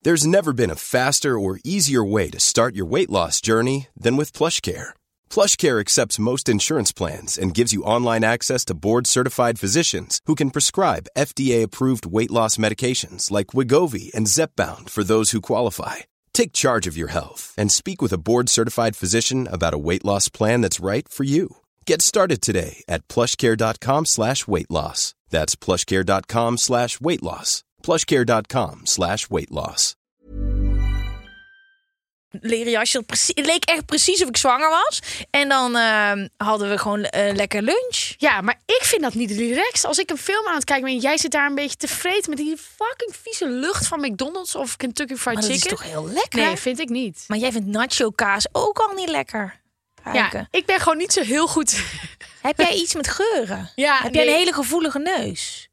D: There's never been a faster or easier way to start your weight loss journey than with PlushCare. PlushCare accepts most insurance plans and gives you online access to board-certified physicians who can prescribe FDA-approved weight loss medications like Wigovi and Zepbound for those who qualify. Take charge of your health and speak with a board-certified physician about a weight loss plan that's right for you. Get started today at plushcare.com slash weight loss. That's plushcare.com slash weight loss. plushcare.com slash weight loss.
B: leren jasje. Dat precie- Het leek echt precies of ik zwanger was. En dan ehm, hadden we gewoon eh, lekker lunch.
A: Ja, maar ik vind dat niet direct. Als ik een film aan het kijken ben en jij zit daar een beetje te vreten met die fucking vieze lucht van McDonald's of Kentucky Fried
B: Maar dat is
A: Chicken.
B: toch heel lekker?
A: Nee, vind ik niet.
B: Maar jij vindt nacho kaas ook al niet lekker.
A: Ja,
B: ruiken.
A: ik ben gewoon niet zo heel goed.
B: Heb jij iets met geuren?
A: Ja,
B: Heb jij
A: nee.
B: een hele gevoelige neus?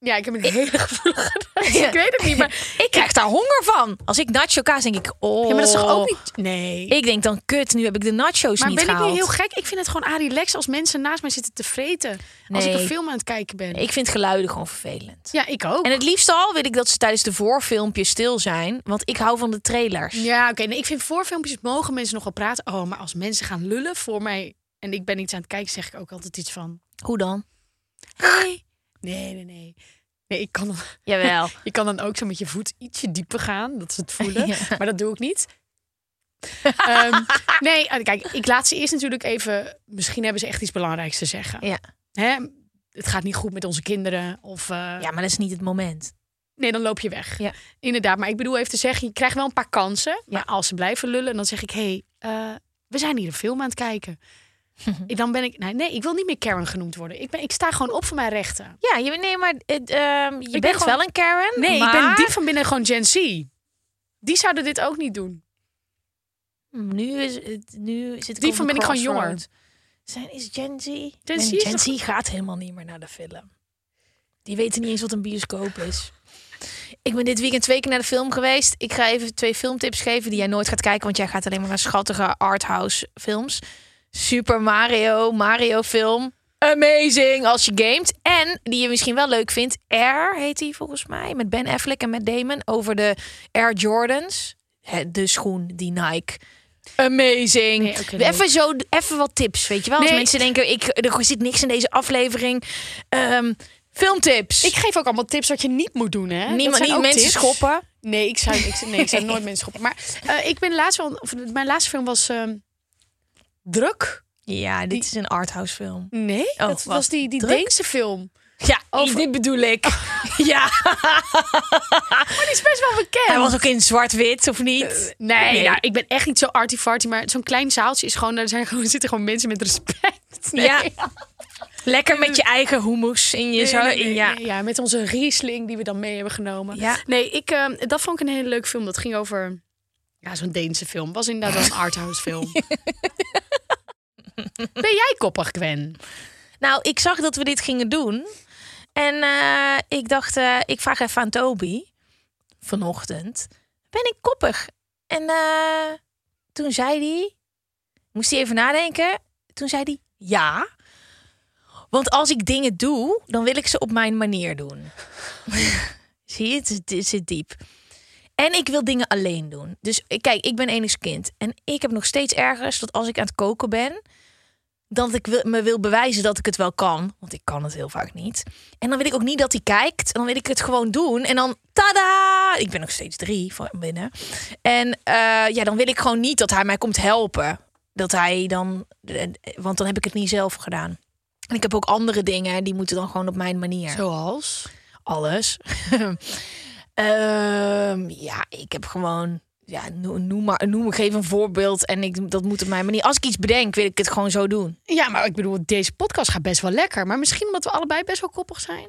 A: Ja, ik heb een hele gevoelige. Ik weet het niet, maar.
B: Ik krijg daar honger van. Als ik nacho kaas denk ik, oh.
A: Ja, maar dat is toch ook niet. Nee.
B: Ik denk dan, kut, nu heb ik de nachos
A: maar
B: niet
A: ben ik
B: gehaald.
A: niet heel gek? Ik vind het gewoon aan relax als mensen naast mij zitten te vreten. Als ik
B: Nee.
A: een film aan het kijken ben.
B: Ik vind geluiden gewoon vervelend.
A: Ja, ik ook.
B: En het liefst al wil ik dat ze tijdens de voorfilmpjes stil zijn. Want ik hou van de trailers.
A: Ja, oké. Nee, ik vind voor filmpjes mogen mensen nog wel praten. Oh, maar als mensen gaan lullen voor mij en ik ben iets aan het kijken, zeg ik ook altijd iets van.
B: Hoe dan?
A: Hey. Nee, nee, nee. Nee, ik kan dan,
B: Jawel.
A: je kan dan ook zo met je voet ietsje dieper gaan. Dat ze het voelen.
B: Ja.
A: Maar dat doe ik niet. Ehm, nee, eh, kijk, ik laat ze eerst natuurlijk even. Misschien hebben ze echt iets belangrijks te zeggen.
B: Ja.
A: Hè? Het gaat niet goed met onze kinderen. Of, eh,
B: ja, maar dat is niet het moment.
A: Nee, dan loop je weg.
B: Ja.
A: Inderdaad, maar ik bedoel even te zeggen, je krijgt wel een paar kansen.
B: Ja.
A: Maar als ze blijven lullen, dan zeg ik, hé, hey, eh, we zijn hier een film aan het kijken. Ik- Dan ben ik. Nee, nee, ik wil niet meer Karen genoemd worden. Ik, ben, ik sta gewoon op voor mijn rechten.
B: Ja, je, nee, maar het, ehm, je
A: ben
B: bent
A: gewoon-
B: wel een Karen.
A: Nee,
B: maar...
A: ik ben diep van binnen gewoon Gen Z. Die zouden dit ook niet doen.
B: Hmm, Nu, is het, nu zit ik
A: Die
B: op
A: van
B: een
A: ben ik gewoon
B: crossroad.
A: jonger.
B: Zijn is Gen Z?
A: Gen Z
B: Nee,
A: is
B: Gen
A: toch-
B: Z gaat helemaal niet meer naar de film. Die weten niet eens wat een bioscoop is. Ik ben dit weekend twee keer naar de film geweest. Ik ga even twee filmtips geven die jij nooit gaat kijken, want jij gaat alleen maar naar schattige arthouse films. Super Mario, Mario film. Amazing als je gamet. En die je misschien wel leuk vindt. Air heet die volgens mij. Met Ben Affleck en met Damon. Over de Air Jordans. Hè, De schoen, die Nike. Amazing.
A: Nee, oké,
B: even, zo, even wat tips, weet je wel. Als
A: Nee.
B: mensen denken, ik, er zit niks in deze aflevering. Ehm, filmtips.
A: Ik geef ook allemaal tips wat je niet moet doen, hè? Dat
B: Niemand,
A: zijn
B: niet
A: ook
B: mensen
A: tips.
B: schoppen.
A: Nee, ik zou, ik, nee, ik zou nooit mensen schoppen. Maar eh, ik ben laatst wel, of, mijn laatste film was ehm, Druk.
B: Ja, dit is een arthouse film.
A: Nee, dat
B: Oh, wat?
A: was die, die
B: Druk?
A: Deense film.
B: Ja,
A: Over-
B: dit bedoel ik. ja,
A: Die is best wel bekend.
B: hij was ook in zwart-wit, of niet?
A: Nee, Nou, ik ben echt niet zo arty-farty, maar zo'n klein zaaltje is gewoon, daar zijn gewoon, zitten gewoon mensen met respect. Nee.
B: Ja. Lekker met je eigen hummus in je
A: Mm. Nee,
B: zo.
A: nee, nee,
B: in ja.
A: nee, ja, met onze Riesling die we dan mee hebben genomen.
B: Ja.
A: Nee, ik, ehm, dat vond ik een hele leuke film. Dat ging over ja, zo'n Deense film. Was inderdaad wel een arthouse film. ben jij koppig, Gwen?
B: Nou, ik zag dat we dit gingen doen. En eh, ik dacht, eh, ik vraag even aan Toby vanochtend. Ben ik koppig? En eh, toen zei hij, moest hij even nadenken. Toen zei hij ja. Want als ik dingen doe, dan wil ik ze op mijn manier doen. Zie je, het is- het zit diep. En ik wil dingen alleen doen. Dus eh, kijk, ik ben enigskind. En ik heb nog steeds ergens dat als ik aan het koken ben, dat ik wil- me wil bewijzen dat ik het wel kan. Want ik kan het heel vaak niet. En dan wil ik ook niet dat hij kijkt. En dan wil ik het gewoon doen. En dan, tada! Ik ben nog steeds drie van binnen. En eh, ja, dan wil ik gewoon niet dat hij mij komt helpen. Dat hij dan, eh, want dan heb ik het niet zelf gedaan. En ik heb ook andere dingen, die moeten dan gewoon op mijn manier
A: Zoals?
B: alles. Ehm, ja, ik heb gewoon. Ja, no- noem maar, noem, geef een voorbeeld en ik, dat moet op mijn manier. Als ik iets bedenk, wil ik het gewoon zo doen.
A: Ja, maar ik bedoel, deze podcast gaat best wel lekker. Maar misschien omdat we allebei best wel koppig zijn.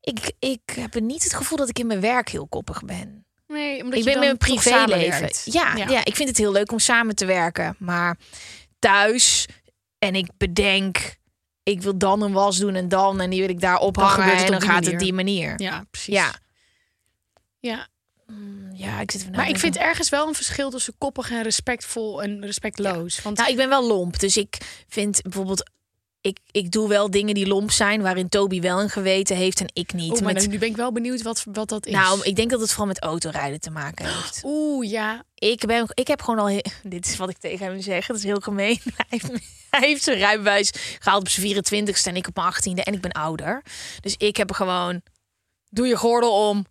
B: Ik, ik heb niet het gevoel dat ik in mijn werk heel koppig ben.
A: Nee, omdat
B: ik
A: je
B: ben in mijn
A: dan toch
B: privéleven.
A: samenwerkt.
B: Ja, ja. ik vind het heel leuk om samen te werken. Maar thuis en ik bedenk, ik wil dan een was doen en dan. En die wil ik daar ophangen
A: gebeurt het
B: en
A: op
B: dan
A: die
B: gaat
A: manier.
B: het die manier.
A: Ja, precies.
B: Ja.
A: ja.
B: Ja, ik zit nou even na
A: Maar ik
B: te
A: vind ergens wel een verschil tussen koppig en respectvol en respectloos. Want
B: Nou, ik ben wel lomp. Dus ik vind bijvoorbeeld. Ik, ik doe wel dingen die lomp zijn, waarin Toby wel een geweten heeft en ik niet.
A: Oeh, Oh, maar
B: Met-
A: nu ben ik wel benieuwd wat, wat dat is.
B: nou, ik denk dat het vooral met autorijden te maken heeft.
A: Oeh, ja.
B: Ik, ben, ik heb gewoon al. he- Dit is wat ik tegen hem zeg. Dat is heel gemeen. Hij heeft, hij heeft zijn rijbewijs gehaald op zijn 24ste en ik op mijn 18e. En ik ben ouder. Dus ik heb gewoon. Doe je gordel om.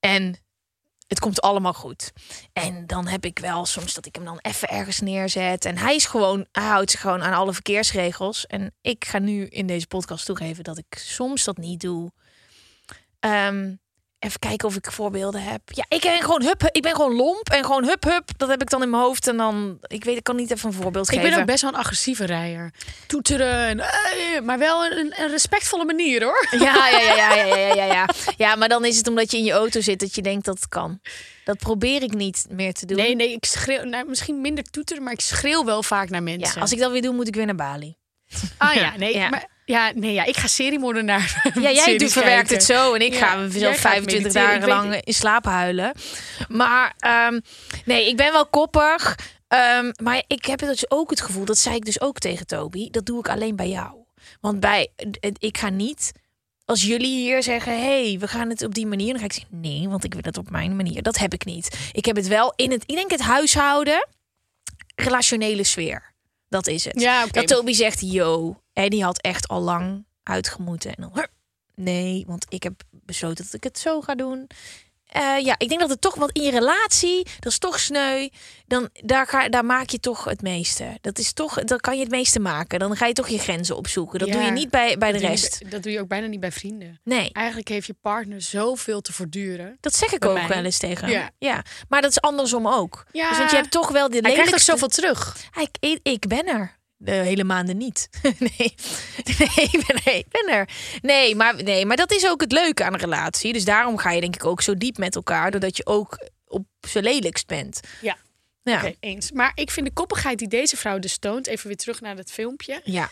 B: En het komt allemaal goed. En dan heb ik wel soms dat ik hem dan even ergens neerzet. En hij is gewoon, hij houdt zich gewoon aan alle verkeersregels. En ik ga nu in deze podcast toegeven dat ik soms dat niet doe. Ehm, even kijken of ik voorbeelden heb. Ja, ik ben gewoon hup, ik ben gewoon lomp en gewoon hup hup. Dat heb ik dan in mijn hoofd en dan, ik weet, ik kan niet even een voorbeeld
A: Ik
B: geven.
A: ben ook best wel een agressieve rijder. Toeteren, en, eh, maar wel een, een respectvolle manier hoor.
B: Ja, ja, ja, ja, ja, ja, ja, ja. Ja, maar dan is het omdat je in je auto zit dat je denkt dat het kan. Dat probeer ik niet meer te doen.
A: Nee, nee, ik schreeuw, nou, misschien minder toeteren, maar ik schreeuw wel vaak naar mensen.
B: ja, als ik dat weer doe, moet ik weer naar Bali.
A: Ah ja, nee,
B: Ja.
A: Maar, ja, nee ja, ik ga seriemoordenaar.
B: Ja, jij
A: series
B: doet, verwerkt
A: kijken.
B: het zo en ik
A: Ja,
B: ga
A: jij
B: zelf
A: gaat
B: 25
A: mediteren,
B: dagen
A: ik weet
B: lang
A: het.
B: in slaap huilen. Maar ehm, nee, ik ben wel koppig. Ehm, maar ik heb dus ook het gevoel, dat zei ik dus ook tegen Toby, dat doe ik alleen bij jou. Want bij, ik ga niet, als jullie hier zeggen, hey, we gaan het op die manier, dan ga ik zeggen, nee, want ik wil het op mijn manier. Dat heb ik niet. Ik heb het wel in het, ik denk het huishouden, relationele sfeer. Dat is het.
A: Ja, oké.
B: Dat Toby zegt, yo. En die had echt al lang uitgemoeten. En dan, "Hup, nee, want ik heb besloten dat ik het zo ga doen. eh, ja, ik denk dat het toch, want in je relatie, dat is toch sneu. Dan, daar, ga, daar maak je toch het meeste. Dat is toch, dan kan je het meeste maken. Dan ga je toch je grenzen opzoeken. Dat doe
A: Ja.
B: je niet bij, bij de
A: Dat doe je-
B: rest.
A: dat doe je ook bijna niet bij vrienden.
B: Nee.
A: Eigenlijk heeft je partner zoveel te voortduren.
B: Dat zeg ik
A: Bij
B: ook
A: mij.
B: wel eens tegen hem. Ja.
A: Ja.
B: maar dat is andersom ook.
A: Ja.
B: Dus want je hebt toch wel de
A: Hij krijgt ook
B: lelijkste-
A: zoveel terug.
B: Hij- ik, ik ben er. De hele maanden niet. nee. Nee, ik ben- nee, ik ben er. Nee maar, nee, maar dat is ook het leuke aan een relatie. Dus daarom ga je denk ik ook zo diep met elkaar. Doordat je ook op zijn lelijkst bent.
A: Ja.
B: Ja.
A: Oké, eens. Maar ik vind de koppigheid die deze vrouw dus toont, even weer terug naar dat filmpje,
B: Ja.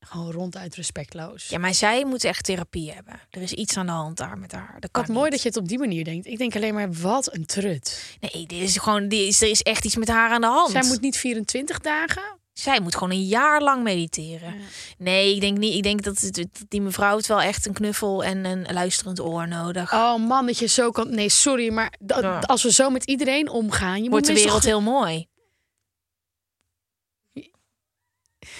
A: gewoon ronduit respectloos.
B: ja, maar zij moet echt therapie hebben. Er is iets aan de hand daar met haar. Dat kan
A: Wat mooi dat
B: niet.
A: je het op die manier denkt. Ik denk alleen maar, wat een trut.
B: Nee, dit is gewoon, dit is, er is echt iets met haar aan de hand.
A: Zij moet niet 24 dagen.
B: Zij moet gewoon een jaar lang mediteren. Nee, ik denk niet. Ik denk dat, het- dat die mevrouw het wel echt een knuffel en een luisterend oor nodig.
A: Oh man, dat je zo kan... Nee, sorry, maar dat-
B: Ja.
A: als we zo met iedereen omgaan... Je
B: Wordt de
A: moet minstens
B: wereld heel mooi.
A: toch-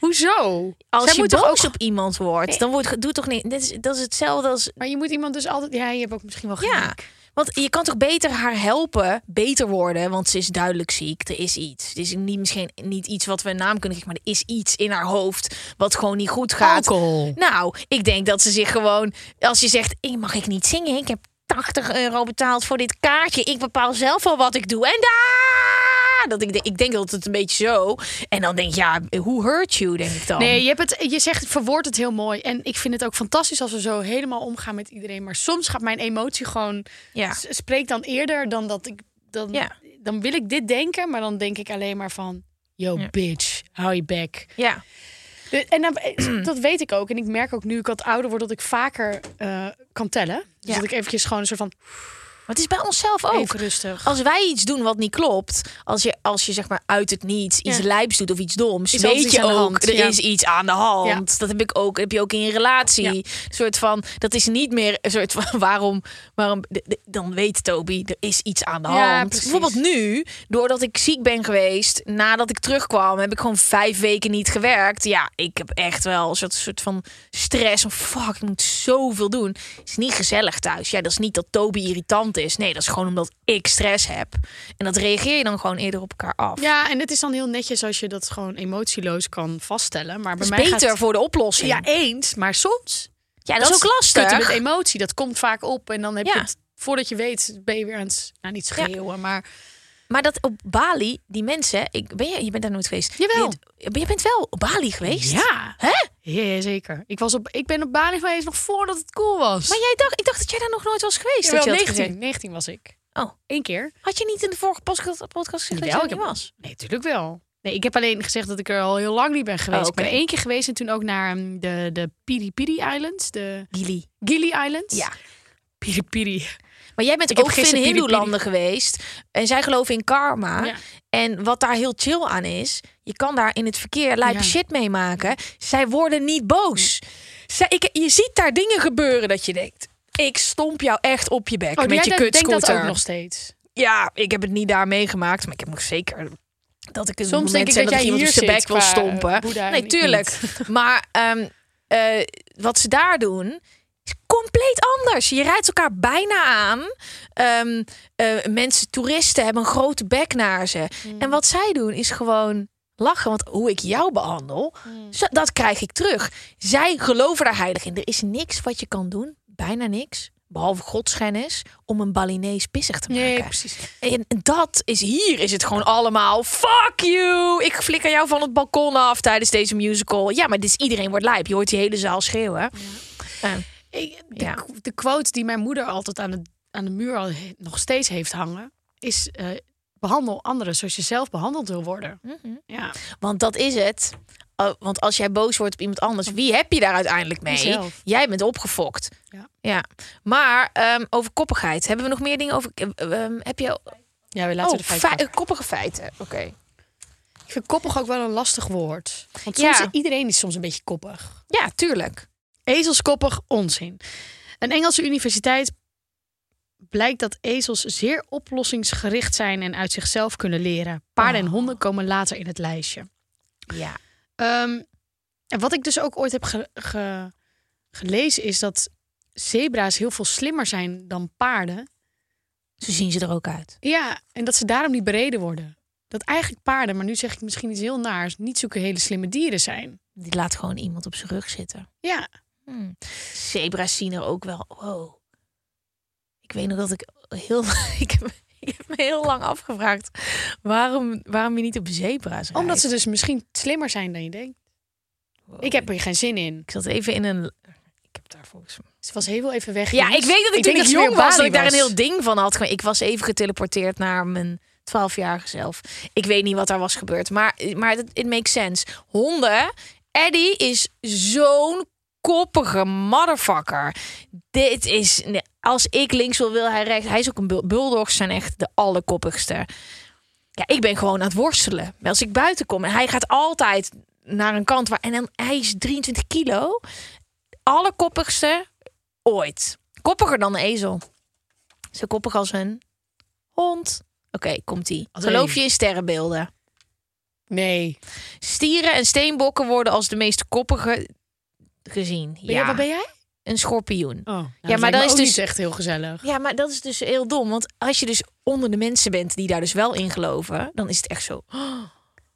A: Hoezo?
B: Als
A: Zij
B: je
A: moet toch
B: boos
A: ook-
B: op iemand wordt, dan wordt ge- doe toch niet. Dit is, dat is hetzelfde als
A: Maar je moet iemand dus altijd... Ja, je hebt ook misschien wel
B: ja.
A: gelijk.
B: Want je kan toch beter haar helpen, beter worden, want ze is duidelijk ziek. Er is iets. Het is niet misschien niet iets wat we een naam kunnen geven, maar er is iets in haar hoofd wat gewoon niet goed gaat.
A: Alcohol.
B: Nou, ik denk dat ze zich gewoon, als je zegt, ik mag ik niet zingen, ik heb 80 euro betaald voor dit kaartje, ik bepaal zelf al wat ik doe en daar. Dat ik, de- ik denk dat het een beetje zo. En dan denk je, ja, who hurt you, denk ik dan.
A: Nee, je, hebt het, je zegt, verwoord het heel mooi. En ik vind het ook fantastisch als we zo helemaal omgaan met iedereen. Maar soms gaat mijn emotie gewoon...
B: ja.
A: S- Spreek dan eerder dan dat ik... Dan,
B: Ja.
A: dan wil ik dit denken, maar dan denk ik alleen maar van... Yo,
B: Ja.
A: bitch, hou je bek.
B: ja.
A: De- En dan- eh, dat weet ik ook. En ik merk ook nu ik wat ouder word dat ik vaker eh, kan tellen. Dus
B: Ja. Oh.
A: dat ik eventjes gewoon een soort van
B: Maar het is bij onszelf ook.
A: even rustig.
B: Als wij iets doen wat niet klopt, als je, als je zeg maar uit het niets iets
A: Ja.
B: lijps doet of iets doms,
A: Is altijd
B: weet
A: iets
B: je
A: aan de
B: ook,
A: hand,
B: er
A: ja.
B: is iets aan de hand.
A: Ja.
B: Dat heb ik ook, heb je ook in je relatie.
A: Ja.
B: Een soort van, dat is niet meer een soort van, waarom, waarom de- de- dan weet Toby, er is iets aan de
A: Ja,
B: hand.
A: precies.
B: Bijvoorbeeld nu, doordat ik ziek ben geweest, nadat ik terugkwam, heb ik gewoon vijf weken niet gewerkt. Ja, ik heb echt wel een soort, soort van stress. Van, fuck, ik moet zoveel doen. Het is niet gezellig thuis. Ja, dat is niet dat Toby irritant is. Nee, dat is gewoon omdat ik stress heb. En dat reageer je dan gewoon eerder op elkaar af.
A: Ja, en het is dan heel netjes als je dat gewoon emotieloos kan vaststellen. Maar
B: dat
A: bij
B: is
A: mij
B: beter
A: gaat...
B: voor de oplossing.
A: Ja, eens, maar soms.
B: Ja, dat, is ook lastig.
A: schieten met emotie, dat komt vaak op. En dan heb
B: Ja.
A: je het, voordat je weet, ben je weer aan het, nou niet schreeuwen, maar...
B: Maar dat op Bali, die mensen, ik, ben je, je bent daar nooit geweest.
A: Jawel.
B: Je, je bent wel op Bali geweest.
A: Ja.
B: Hè?
A: Ja, zeker. Ik, was op, ik ben op Bali geweest nog voordat het cool was.
B: Maar jij dacht, ik dacht dat jij daar nog nooit was geweest.
A: Jawel,
B: dat je had
A: 19,
B: gezegd.
A: 19 was ik.
B: Oh.
A: Eén keer.
B: Had je niet in de vorige podcast, podcast gezegd dat
A: Jawel,
B: je er
A: ik
B: niet
A: heb-
B: was?
A: Nee, natuurlijk wel. Nee, ik heb alleen gezegd dat ik er al heel lang niet ben geweest.
B: Oh,
A: Ik
B: oké.
A: ben één keer geweest en toen ook naar ehm, de, de Piri Piri Islands, de
B: Gili.
A: Gili Islands.
B: Ja.
A: Piri Piri.
B: Maar jij bent
A: Ik heb
B: ook in
A: gisteren Piri Piri-
B: hindoelanden geweest. En zij geloven in karma.
A: Ja.
B: En wat daar heel chill aan is... je kan daar in het verkeer lijpe
A: Ja.
B: shit meemaken. Zij worden niet boos. Zij, ik, je ziet daar dingen gebeuren dat je denkt... ik stomp jou echt op je bek
A: Oh, jij
B: met je
A: denkt- denkt dat
B: kutscooter.
A: ook nog steeds.
B: Ja, ik heb het niet daar meegemaakt. Maar ik heb nog zeker... Dat ik een
A: Soms
B: moment
A: denk ik
B: zijn
A: dat
B: dat
A: jij
B: iemand op
A: hier
B: zijn bek
A: zit
B: wil
A: qua, eh,
B: stompen.
A: Boeddha en
B: nee,
A: ik
B: tuurlijk. Maar ehm, eh, wat ze daar doen is compleet anders. Je rijdt elkaar bijna aan. Ehm, eh, mensen, toeristen hebben een grote bek naar ze.
A: Hmm.
B: En wat zij doen is gewoon lachen. Want hoe ik jou behandel,
A: Hmm.
B: zo- dat krijg ik terug. Zij geloven daar heilig in. Er is niks wat je kan doen, bijna niks, behalve godsgennis, om een Balinees pissig te maken.
A: Nee, precies.
B: En dat is hier, is het gewoon allemaal. Fuck you! Ik flikker jou van het balkon af tijdens deze musical. Ja, maar dit is, iedereen wordt lijp. Je hoort die hele zaal schreeuwen. Eh,
A: Ik- de,
B: Ja.
A: de quote die mijn moeder altijd aan de, aan de muur al he- nog steeds heeft hangen, is eh, behandel anderen zoals je zelf behandeld wil worden. Ja.
B: want dat is het. Oh, want als jij boos wordt op iemand anders, wie heb je daar uiteindelijk mee?
A: Jezelf.
B: Jij bent opgefokt.
A: Ja.
B: Maar ehm, over koppigheid. Hebben we nog meer dingen over. eh, ehm, heb je.
A: ja, we laten
B: oh,
A: de feiten.
B: fei- koppige feiten. Oké.
A: Ik vind koppig ook wel een lastig woord. Want soms,
B: Ja.
A: iedereen is soms een beetje koppig.
B: Ja, tuurlijk.
A: Ezelskoppig onzin. Een Engelse universiteit blijkt dat ezels zeer oplossingsgericht zijn en uit zichzelf kunnen leren. Paarden en honden komen later in het lijstje.
B: Ja.
A: Ehm, en wat ik dus ook ooit heb ge- ge- gelezen is dat zebra's heel veel slimmer zijn dan paarden.
B: Zo zien ze er ook uit.
A: Ja, en dat ze daarom niet bereden worden. Dat eigenlijk paarden, maar nu zeg ik misschien iets heel naars, niet zulke hele slimme dieren zijn.
B: Die laat gewoon iemand op zijn rug zitten.
A: Ja,
B: Hmm. Zebra's zien er ook wel. Wow. Ik weet nog dat ik heel. Ik heb, ik heb me heel lang afgevraagd waarom, waarom je niet op zebra's rijdt.
A: omdat ze dus misschien slimmer zijn dan je denkt.
B: Wow.
A: Ik heb er geen zin in.
B: Ik zat even in een. Ik heb daar volgens mij.
A: Ze was heel even weg.
B: Ja,
A: jongens.
B: ik weet dat ik,
A: denk
B: toen ik
A: ze weer
B: jong
A: op Bali
B: was, dat ik daar een
A: was.
B: heel ding van had. Gewoon, Ik was even geteleporteerd naar mijn 12-jarige zelf. Ik weet niet wat daar was gebeurd, maar, maar het, it makes sense. Honden, Eddie is zo'n koppige motherfucker. Dit is, nee, als ik links wil, wil hij rechts. Hij is ook een bul- bulldogs, zijn echt de allerkoppigste. Ja, ik ben gewoon aan het worstelen. Maar Als ik buiten kom en hij gaat altijd naar een kant waar. En dan, hij is 23 kilo. Allerkoppigste ooit. Koppiger dan een ezel. Zo koppig als een hond. Oké, komt ie.
A: Als
B: Geloof
A: één.
B: je in sterrenbeelden?
A: Nee.
B: Stieren en steenbokken worden als de meest koppige gezien.
A: Ben
B: ja,
A: jij, wat ben jij?
B: een schorpioen.
A: Oh,
B: maar
A: maar
B: dan
A: dat
B: is
A: is
B: dus-
A: dus echt heel gezellig.
B: Ja, maar dat is dus heel dom. Want als je dus onder de mensen bent die daar dus wel in geloven, dan is het echt zo. "Oh,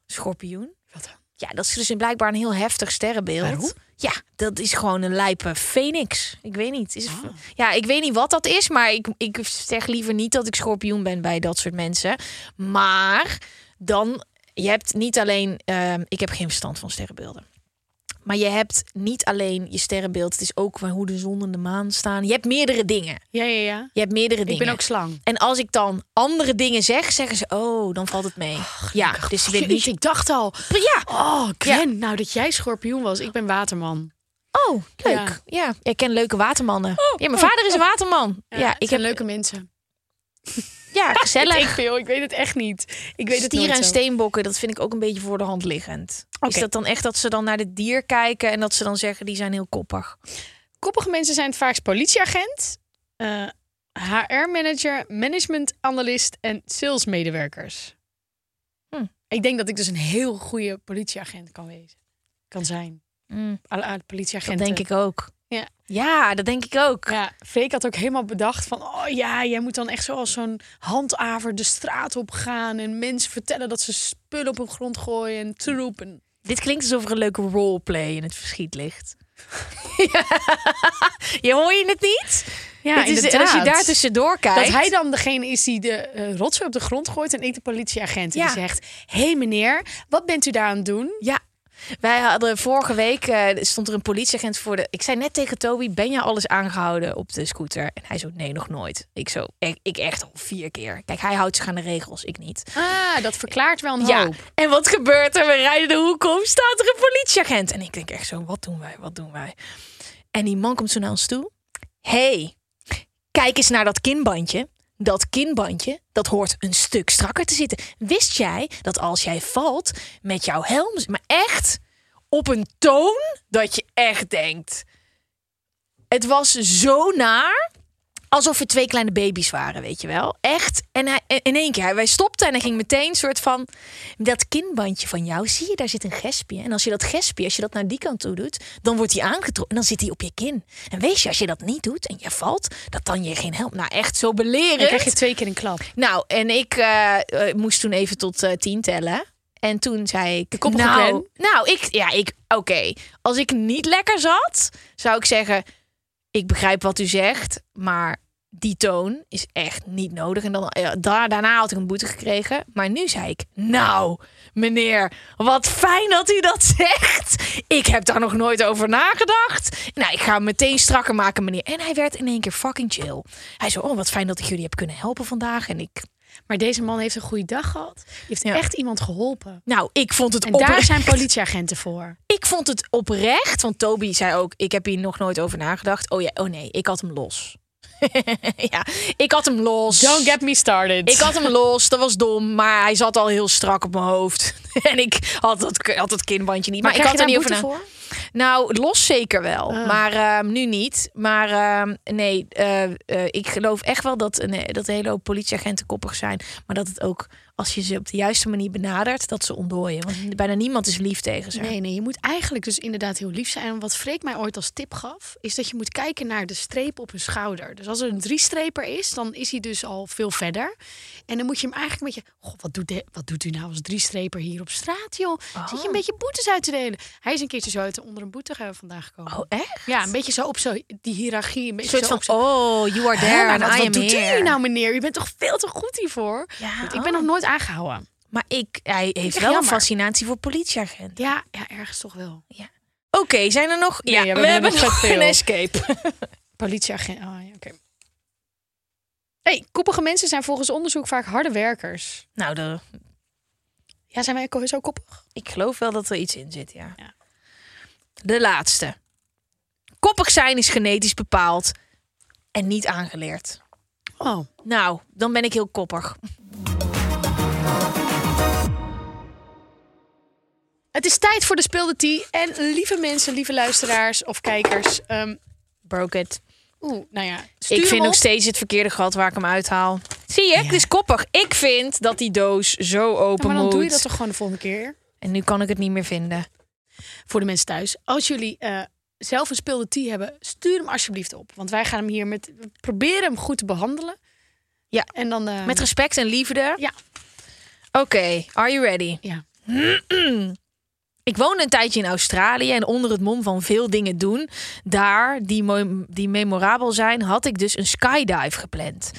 B: schorpioen?
A: Wat dan?
B: Ja, dat is dus een blijkbaar een heel heftig sterrenbeeld.
A: Waarom?
B: Ja, dat is gewoon een lijpe phoenix. Ik weet niet. Is
A: Ah.
B: Ja, ik weet niet wat dat is, maar ik, ik zeg liever niet dat ik schorpioen ben bij dat soort mensen. Maar dan, je hebt niet alleen, ehm, ik heb geen verstand van sterrenbeelden. Maar je hebt niet alleen je sterrenbeeld, het is ook van hoe de zon en de maan staan. Je hebt meerdere dingen.
A: Ja, ja, ja.
B: Je hebt meerdere
A: Ik
B: dingen.
A: ben ook slang.
B: En als ik dan andere dingen zeg, zeggen ze, oh, dan valt het mee. ja, dus ze willen
A: Jeetje,
B: niet...
A: ik dacht al.
B: Ja,
A: Oh, Gwen, nou dat jij schorpioen was. Ik ben waterman.
B: oh, leuk. Ja. ik ken leuke watermannen.
A: Oh,
B: ja, mijn vader is een waterman. Ja,
A: ik
B: ik
A: heb
B: heb...
A: leuke mensen.
B: Ja, gezellig.
A: Ik veel, ik weet het echt niet. Ik weet het
B: Stieren
A: nooit
B: en
A: zo.
B: steenbokken, dat vind ik ook een beetje voor de hand liggend. Is
A: Oké.
B: dat dan echt dat ze dan naar dit dier kijken en dat ze dan zeggen, die zijn heel koppig?
A: Koppige mensen zijn het vaakst politieagent, eh, HR-manager, management-analyst en salesmedewerkers.
B: Hm.
A: Ik denk dat ik dus een heel goede politieagent kan wezen. Kan zijn. Alle uit
B: Hmm. dat
A: politieagenten.
B: denk ik ook.
A: Ja.
B: ja, dat denk ik ook.
A: Ja, Freek had ook helemaal bedacht van... oh ja, jij moet dan echt zoals zo'n handaver de straat op gaan... en mensen vertellen dat ze spullen op hun grond gooien en troep. En...
B: Dit klinkt alsof er een leuke roleplay in het verschiet ligt. Ja. Je hoor je het niet?
A: Ja,
B: Het is, en als je daar tussendoor kijkt...
A: Dat hij dan degene is die de eh, rotzooi op de grond gooit... en ik de politieagent
B: Ja.
A: die zegt... hé hey, meneer, wat bent u daar aan het doen?
B: Ja. Wij hadden vorige week eh, stond er een politieagent voor de. Ik zei net tegen Toby: Ben je alles aangehouden op de scooter? En hij zo: Nee, nog nooit. Ik zo: Ik, ik echt al vier keer. Kijk, hij houdt zich aan de regels, ik niet.
A: Ah, dat verklaart wel een
B: Ja.
A: hoop.
B: En wat gebeurt er? We rijden de hoek om, staat er een politieagent. En ik denk echt zo: Wat doen wij? Wat doen wij? En die man komt zo naar ons toe: hey, kijk eens naar dat kinbandje. Dat kinbandje, dat hoort een stuk strakker te zitten. Wist jij dat als jij valt met jouw helm, maar echt op een toon dat je echt denkt. Het was zo naar. Alsof we twee kleine baby's waren, weet je wel. Echt. En hij, en in één keer, hij- wij stopten en hij ging meteen een soort van... Dat kinbandje van jou, zie je, daar zit een gespje. En als je dat gespje, als je dat naar die kant toe doet... dan wordt hij aangetrokken en dan zit hij op je kin. En weet je, als je dat niet doet en je valt... dat dan je geen help... Nou, echt zo belerend.
A: Dan krijg je twee keer een klap.
B: Nou, en ik eh, eh, moest toen even tot eh, tien tellen. En toen zei ik...
A: koppige
B: nou,
A: Glen.
B: nou, ik... Ja, ik... Oké. Als ik niet lekker zat, zou ik zeggen... Ik begrijp wat u zegt, maar die toon is echt niet nodig. En dan, ja, daar, daarna had ik een boete gekregen. Maar nu zei ik, nou, meneer, wat fijn dat u dat zegt. Ik heb daar nog nooit over nagedacht. Nou, ik ga hem meteen strakker maken, meneer. En hij werd in één keer fucking chill. Hij zei, oh, wat fijn dat ik jullie heb kunnen helpen vandaag. En ik,
A: Maar deze man heeft een goede dag gehad. Hij heeft
B: Ja.
A: echt iemand geholpen.
B: nou, ik vond het
A: En
B: oprecht.
A: daar zijn politieagenten voor.
B: Ik vond het oprecht, want Toby zei ook, ik heb hier nog nooit over nagedacht. Oh ja, oh nee, ik had hem los. ja, ik had hem los.
A: Don't get me started.
B: Ik had hem los, dat was dom, maar hij zat al heel strak op mijn hoofd. en ik had dat, had dat kinbandje niet. Maar,
A: krijg
B: ik had
A: je
B: er niet
A: daar
B: over
A: boete Ah.
B: na-
A: voor?
B: Nou, los zeker wel, maar ehm, nu niet. Maar ehm, nee, eh, eh, ik geloof echt wel dat, een- dat een hele hoop politieagenten koppig zijn. Maar dat het ook als je ze op de juiste manier benadert, dat ze ontdooien. Want bijna niemand is lief tegen ze.
A: Nee, nee, je moet eigenlijk dus inderdaad heel lief zijn. En wat Freek mij ooit als tip gaf, is dat je moet kijken naar de streep op hun schouder. Dus als er een driestreper is, dan is hij dus al veel verder. En dan moet je hem eigenlijk een beetje... Goh, wat doet, de, wat doet u nou als driestreper hier op straat, joh? Zit
B: Oh.
A: je een beetje boetes uit te delen? Hij is een keertje zo uit onder een boete eh, vandaag gekomen.
B: Oh, echt?
A: Ja, een beetje zo op zo, die hiërarchie. Een
B: Een
A: beetje
B: soort
A: zo op
B: van, oh, you are
A: Hè,
B: there
A: maar
B: and
A: wat,
B: I
A: wat
B: am
A: doet u
B: here.
A: hier nou, meneer? U bent toch veel te goed hiervoor?
B: Ja,
A: Want ik ben
B: oh.
A: nog nooit aangehouden.
B: Maar ik, hij heeft
A: echt
B: wel een
A: jammer.
B: fascinatie voor politieagenten.
A: Ja, ja ergens toch wel.
B: Oké, zijn er nog?
A: Nee,
B: ja,
A: ja, we
B: we,
A: hebben
B: hebben
A: nog vet
B: nog
A: veel.
B: een escape.
A: Politieagent. Ah, ja, oké. hey, koppige mensen zijn volgens onderzoek vaak harde werkers.
B: nou, de,
A: Ja, zijn wij ko- zo koppig?
B: ik geloof wel dat er iets in zit, ja.
A: Ja.
B: De laatste. Koppig zijn is genetisch bepaald en niet aangeleerd.
A: Oh.
B: Nou, dan ben ik heel koppig.
A: Het is tijd voor de speelde tea. En lieve mensen, lieve luisteraars of kijkers. ehm,
B: Broke it.
A: Oeh, nou ja. stuur
B: Ik
A: hem
B: vind
A: op.
B: nog steeds het verkeerde gat waar ik hem uithaal. Zie je, het is koppig. Ik vind dat die doos zo
A: Ja,
B: open
A: maar dan
B: moet.
A: doe je dat toch gewoon de volgende keer?
B: En nu kan ik het niet meer vinden.
A: Voor de mensen thuis. Als jullie eh, zelf een speelde tea hebben, stuur hem alsjeblieft op. Want wij gaan hem hier met... we proberen hem goed te behandelen.
B: Ja.
A: En dan... eh,
B: Met respect en liefde.
A: Ja.
B: Oké, are you ready?
A: Ja.
B: Ik woonde een tijdje in Australië en onder het mom van veel dingen doen, daar die, mo- die memorabel zijn, had ik dus een skydive gepland.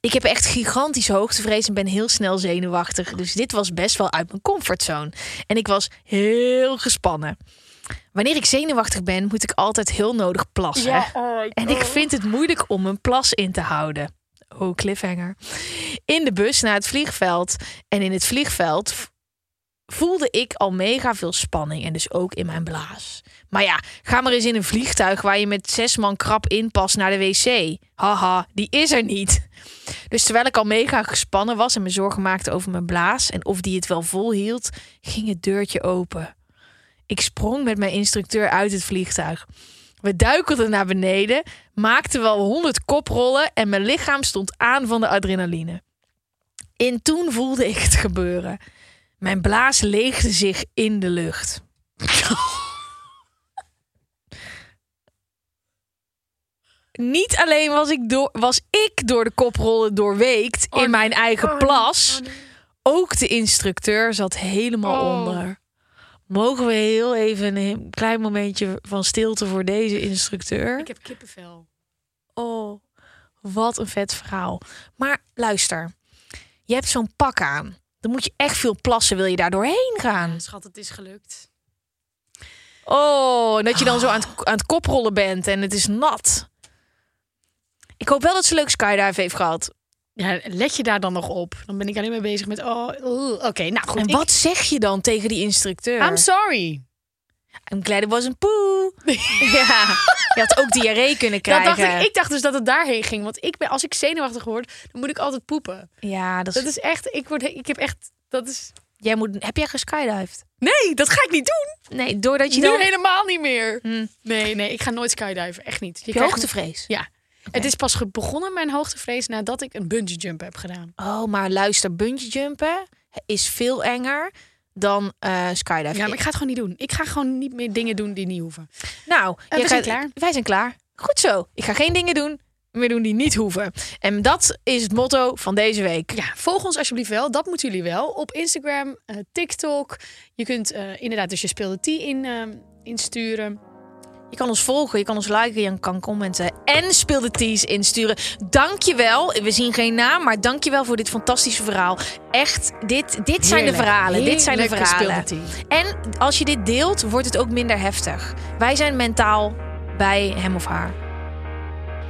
B: Ik heb echt gigantisch hoogtevrees en ben heel snel zenuwachtig. Dus dit was best wel uit mijn comfortzone. En ik was heel gespannen. Wanneer ik zenuwachtig ben, moet ik altijd heel nodig plassen. en ik vind het moeilijk om een plas in te houden. Oh, cliffhanger. In de bus naar het vliegveld. En in het vliegveld v- voelde ik al mega veel spanning en dus ook in mijn blaas. Maar ja, ga maar eens in een vliegtuig waar je met zes man krap inpast naar de wc. Haha, die is er niet. Dus terwijl ik al mega gespannen was en me zorgen maakte over mijn blaas en of die het wel volhield, ging het deurtje open. Ik sprong met mijn instructeur uit het vliegtuig. We duikelden naar beneden, maakten wel honderd koprollen en mijn lichaam stond aan van de adrenaline. In toen voelde ik het gebeuren. Mijn blaas leegde zich in de lucht. Niet alleen was ik, door, was ik door de koprollen doorweekt in
A: Oh,
B: mijn eigen plas. Ook de instructeur zat helemaal
A: Oh.
B: onder. Mogen we heel even een he- klein momentje van stilte voor deze instructeur?
A: Ik heb kippenvel.
B: Oh, wat een vet verhaal. Maar luister, je hebt zo'n pak aan. Dan moet je echt veel plassen, wil je daar doorheen gaan.
A: Schat, het is gelukt.
B: Oh, en dat je dan zo aan het, aan het koprollen bent en het is nat. Ik hoop wel dat ze leuk skydive heeft gehad.
A: Ja, let je daar dan nog op? Dan ben ik alleen maar bezig met... Oh, oeh, oké, nou goed.
B: en
A: ik-
B: wat zeg je dan tegen die instructeur?
A: I'm sorry.
B: I'm glad it wasn't poo. ja, je had ook diarree kunnen
A: Dat
B: krijgen.
A: dacht ik, ik dacht dus dat het daarheen ging. Want ik ben, als ik zenuwachtig word, dan moet ik altijd poepen.
B: Ja, dat is...
A: Dat is echt... Ik, word, ik heb echt... Dat is...
B: Jij moet... Heb jij geskydived?
A: Nee, dat ga ik niet doen.
B: Nee, doordat je
A: nu
B: dan...
A: helemaal niet meer. Nee, nee, ik ga nooit skydiven. Echt niet.
B: Heb je
A: krijgt-
B: hoogtevrees?
A: Ja. Het is pas ge- begonnen, mijn hoogtevrees, nadat ik een bungee jump heb gedaan.
B: Oh, maar luister, bungee jumpen is veel enger dan eh skydiven.
A: Ja, maar ik ga het gewoon niet doen. Ik ga gewoon niet meer dingen doen die niet hoeven.
B: Nou,
A: we zijn
B: jij gaat-
A: klaar.
B: Wij zijn klaar. Goed zo. Ik ga geen dingen doen meer doen die niet hoeven. En dat is het motto van deze week.
A: Ja, volg ons alsjeblieft wel. Dat moeten jullie wel. Op Instagram, eh, TikTok. Je kunt eh, inderdaad dus je speelde T in, ehm, insturen.
B: Je kan ons volgen, je kan ons liken, je kan commenten en speel de teas insturen. Dankjewel. We zien geen naam, maar dankjewel voor dit fantastische verhaal. Echt, dit, dit zijn de
A: Heerlijk.
B: verhalen. Dit zijn de
A: Heerlijke
B: verhalen.
A: speelde
B: En als je dit deelt, wordt het ook minder heftig. Wij zijn mentaal bij hem of haar.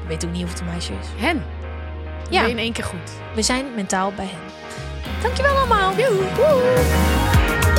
B: Ik weet ook niet of het een meisje is.
A: Hen. Ja.
B: Ja.
A: in één keer goed.
B: We zijn mentaal bij hem. Dankjewel allemaal. Doei.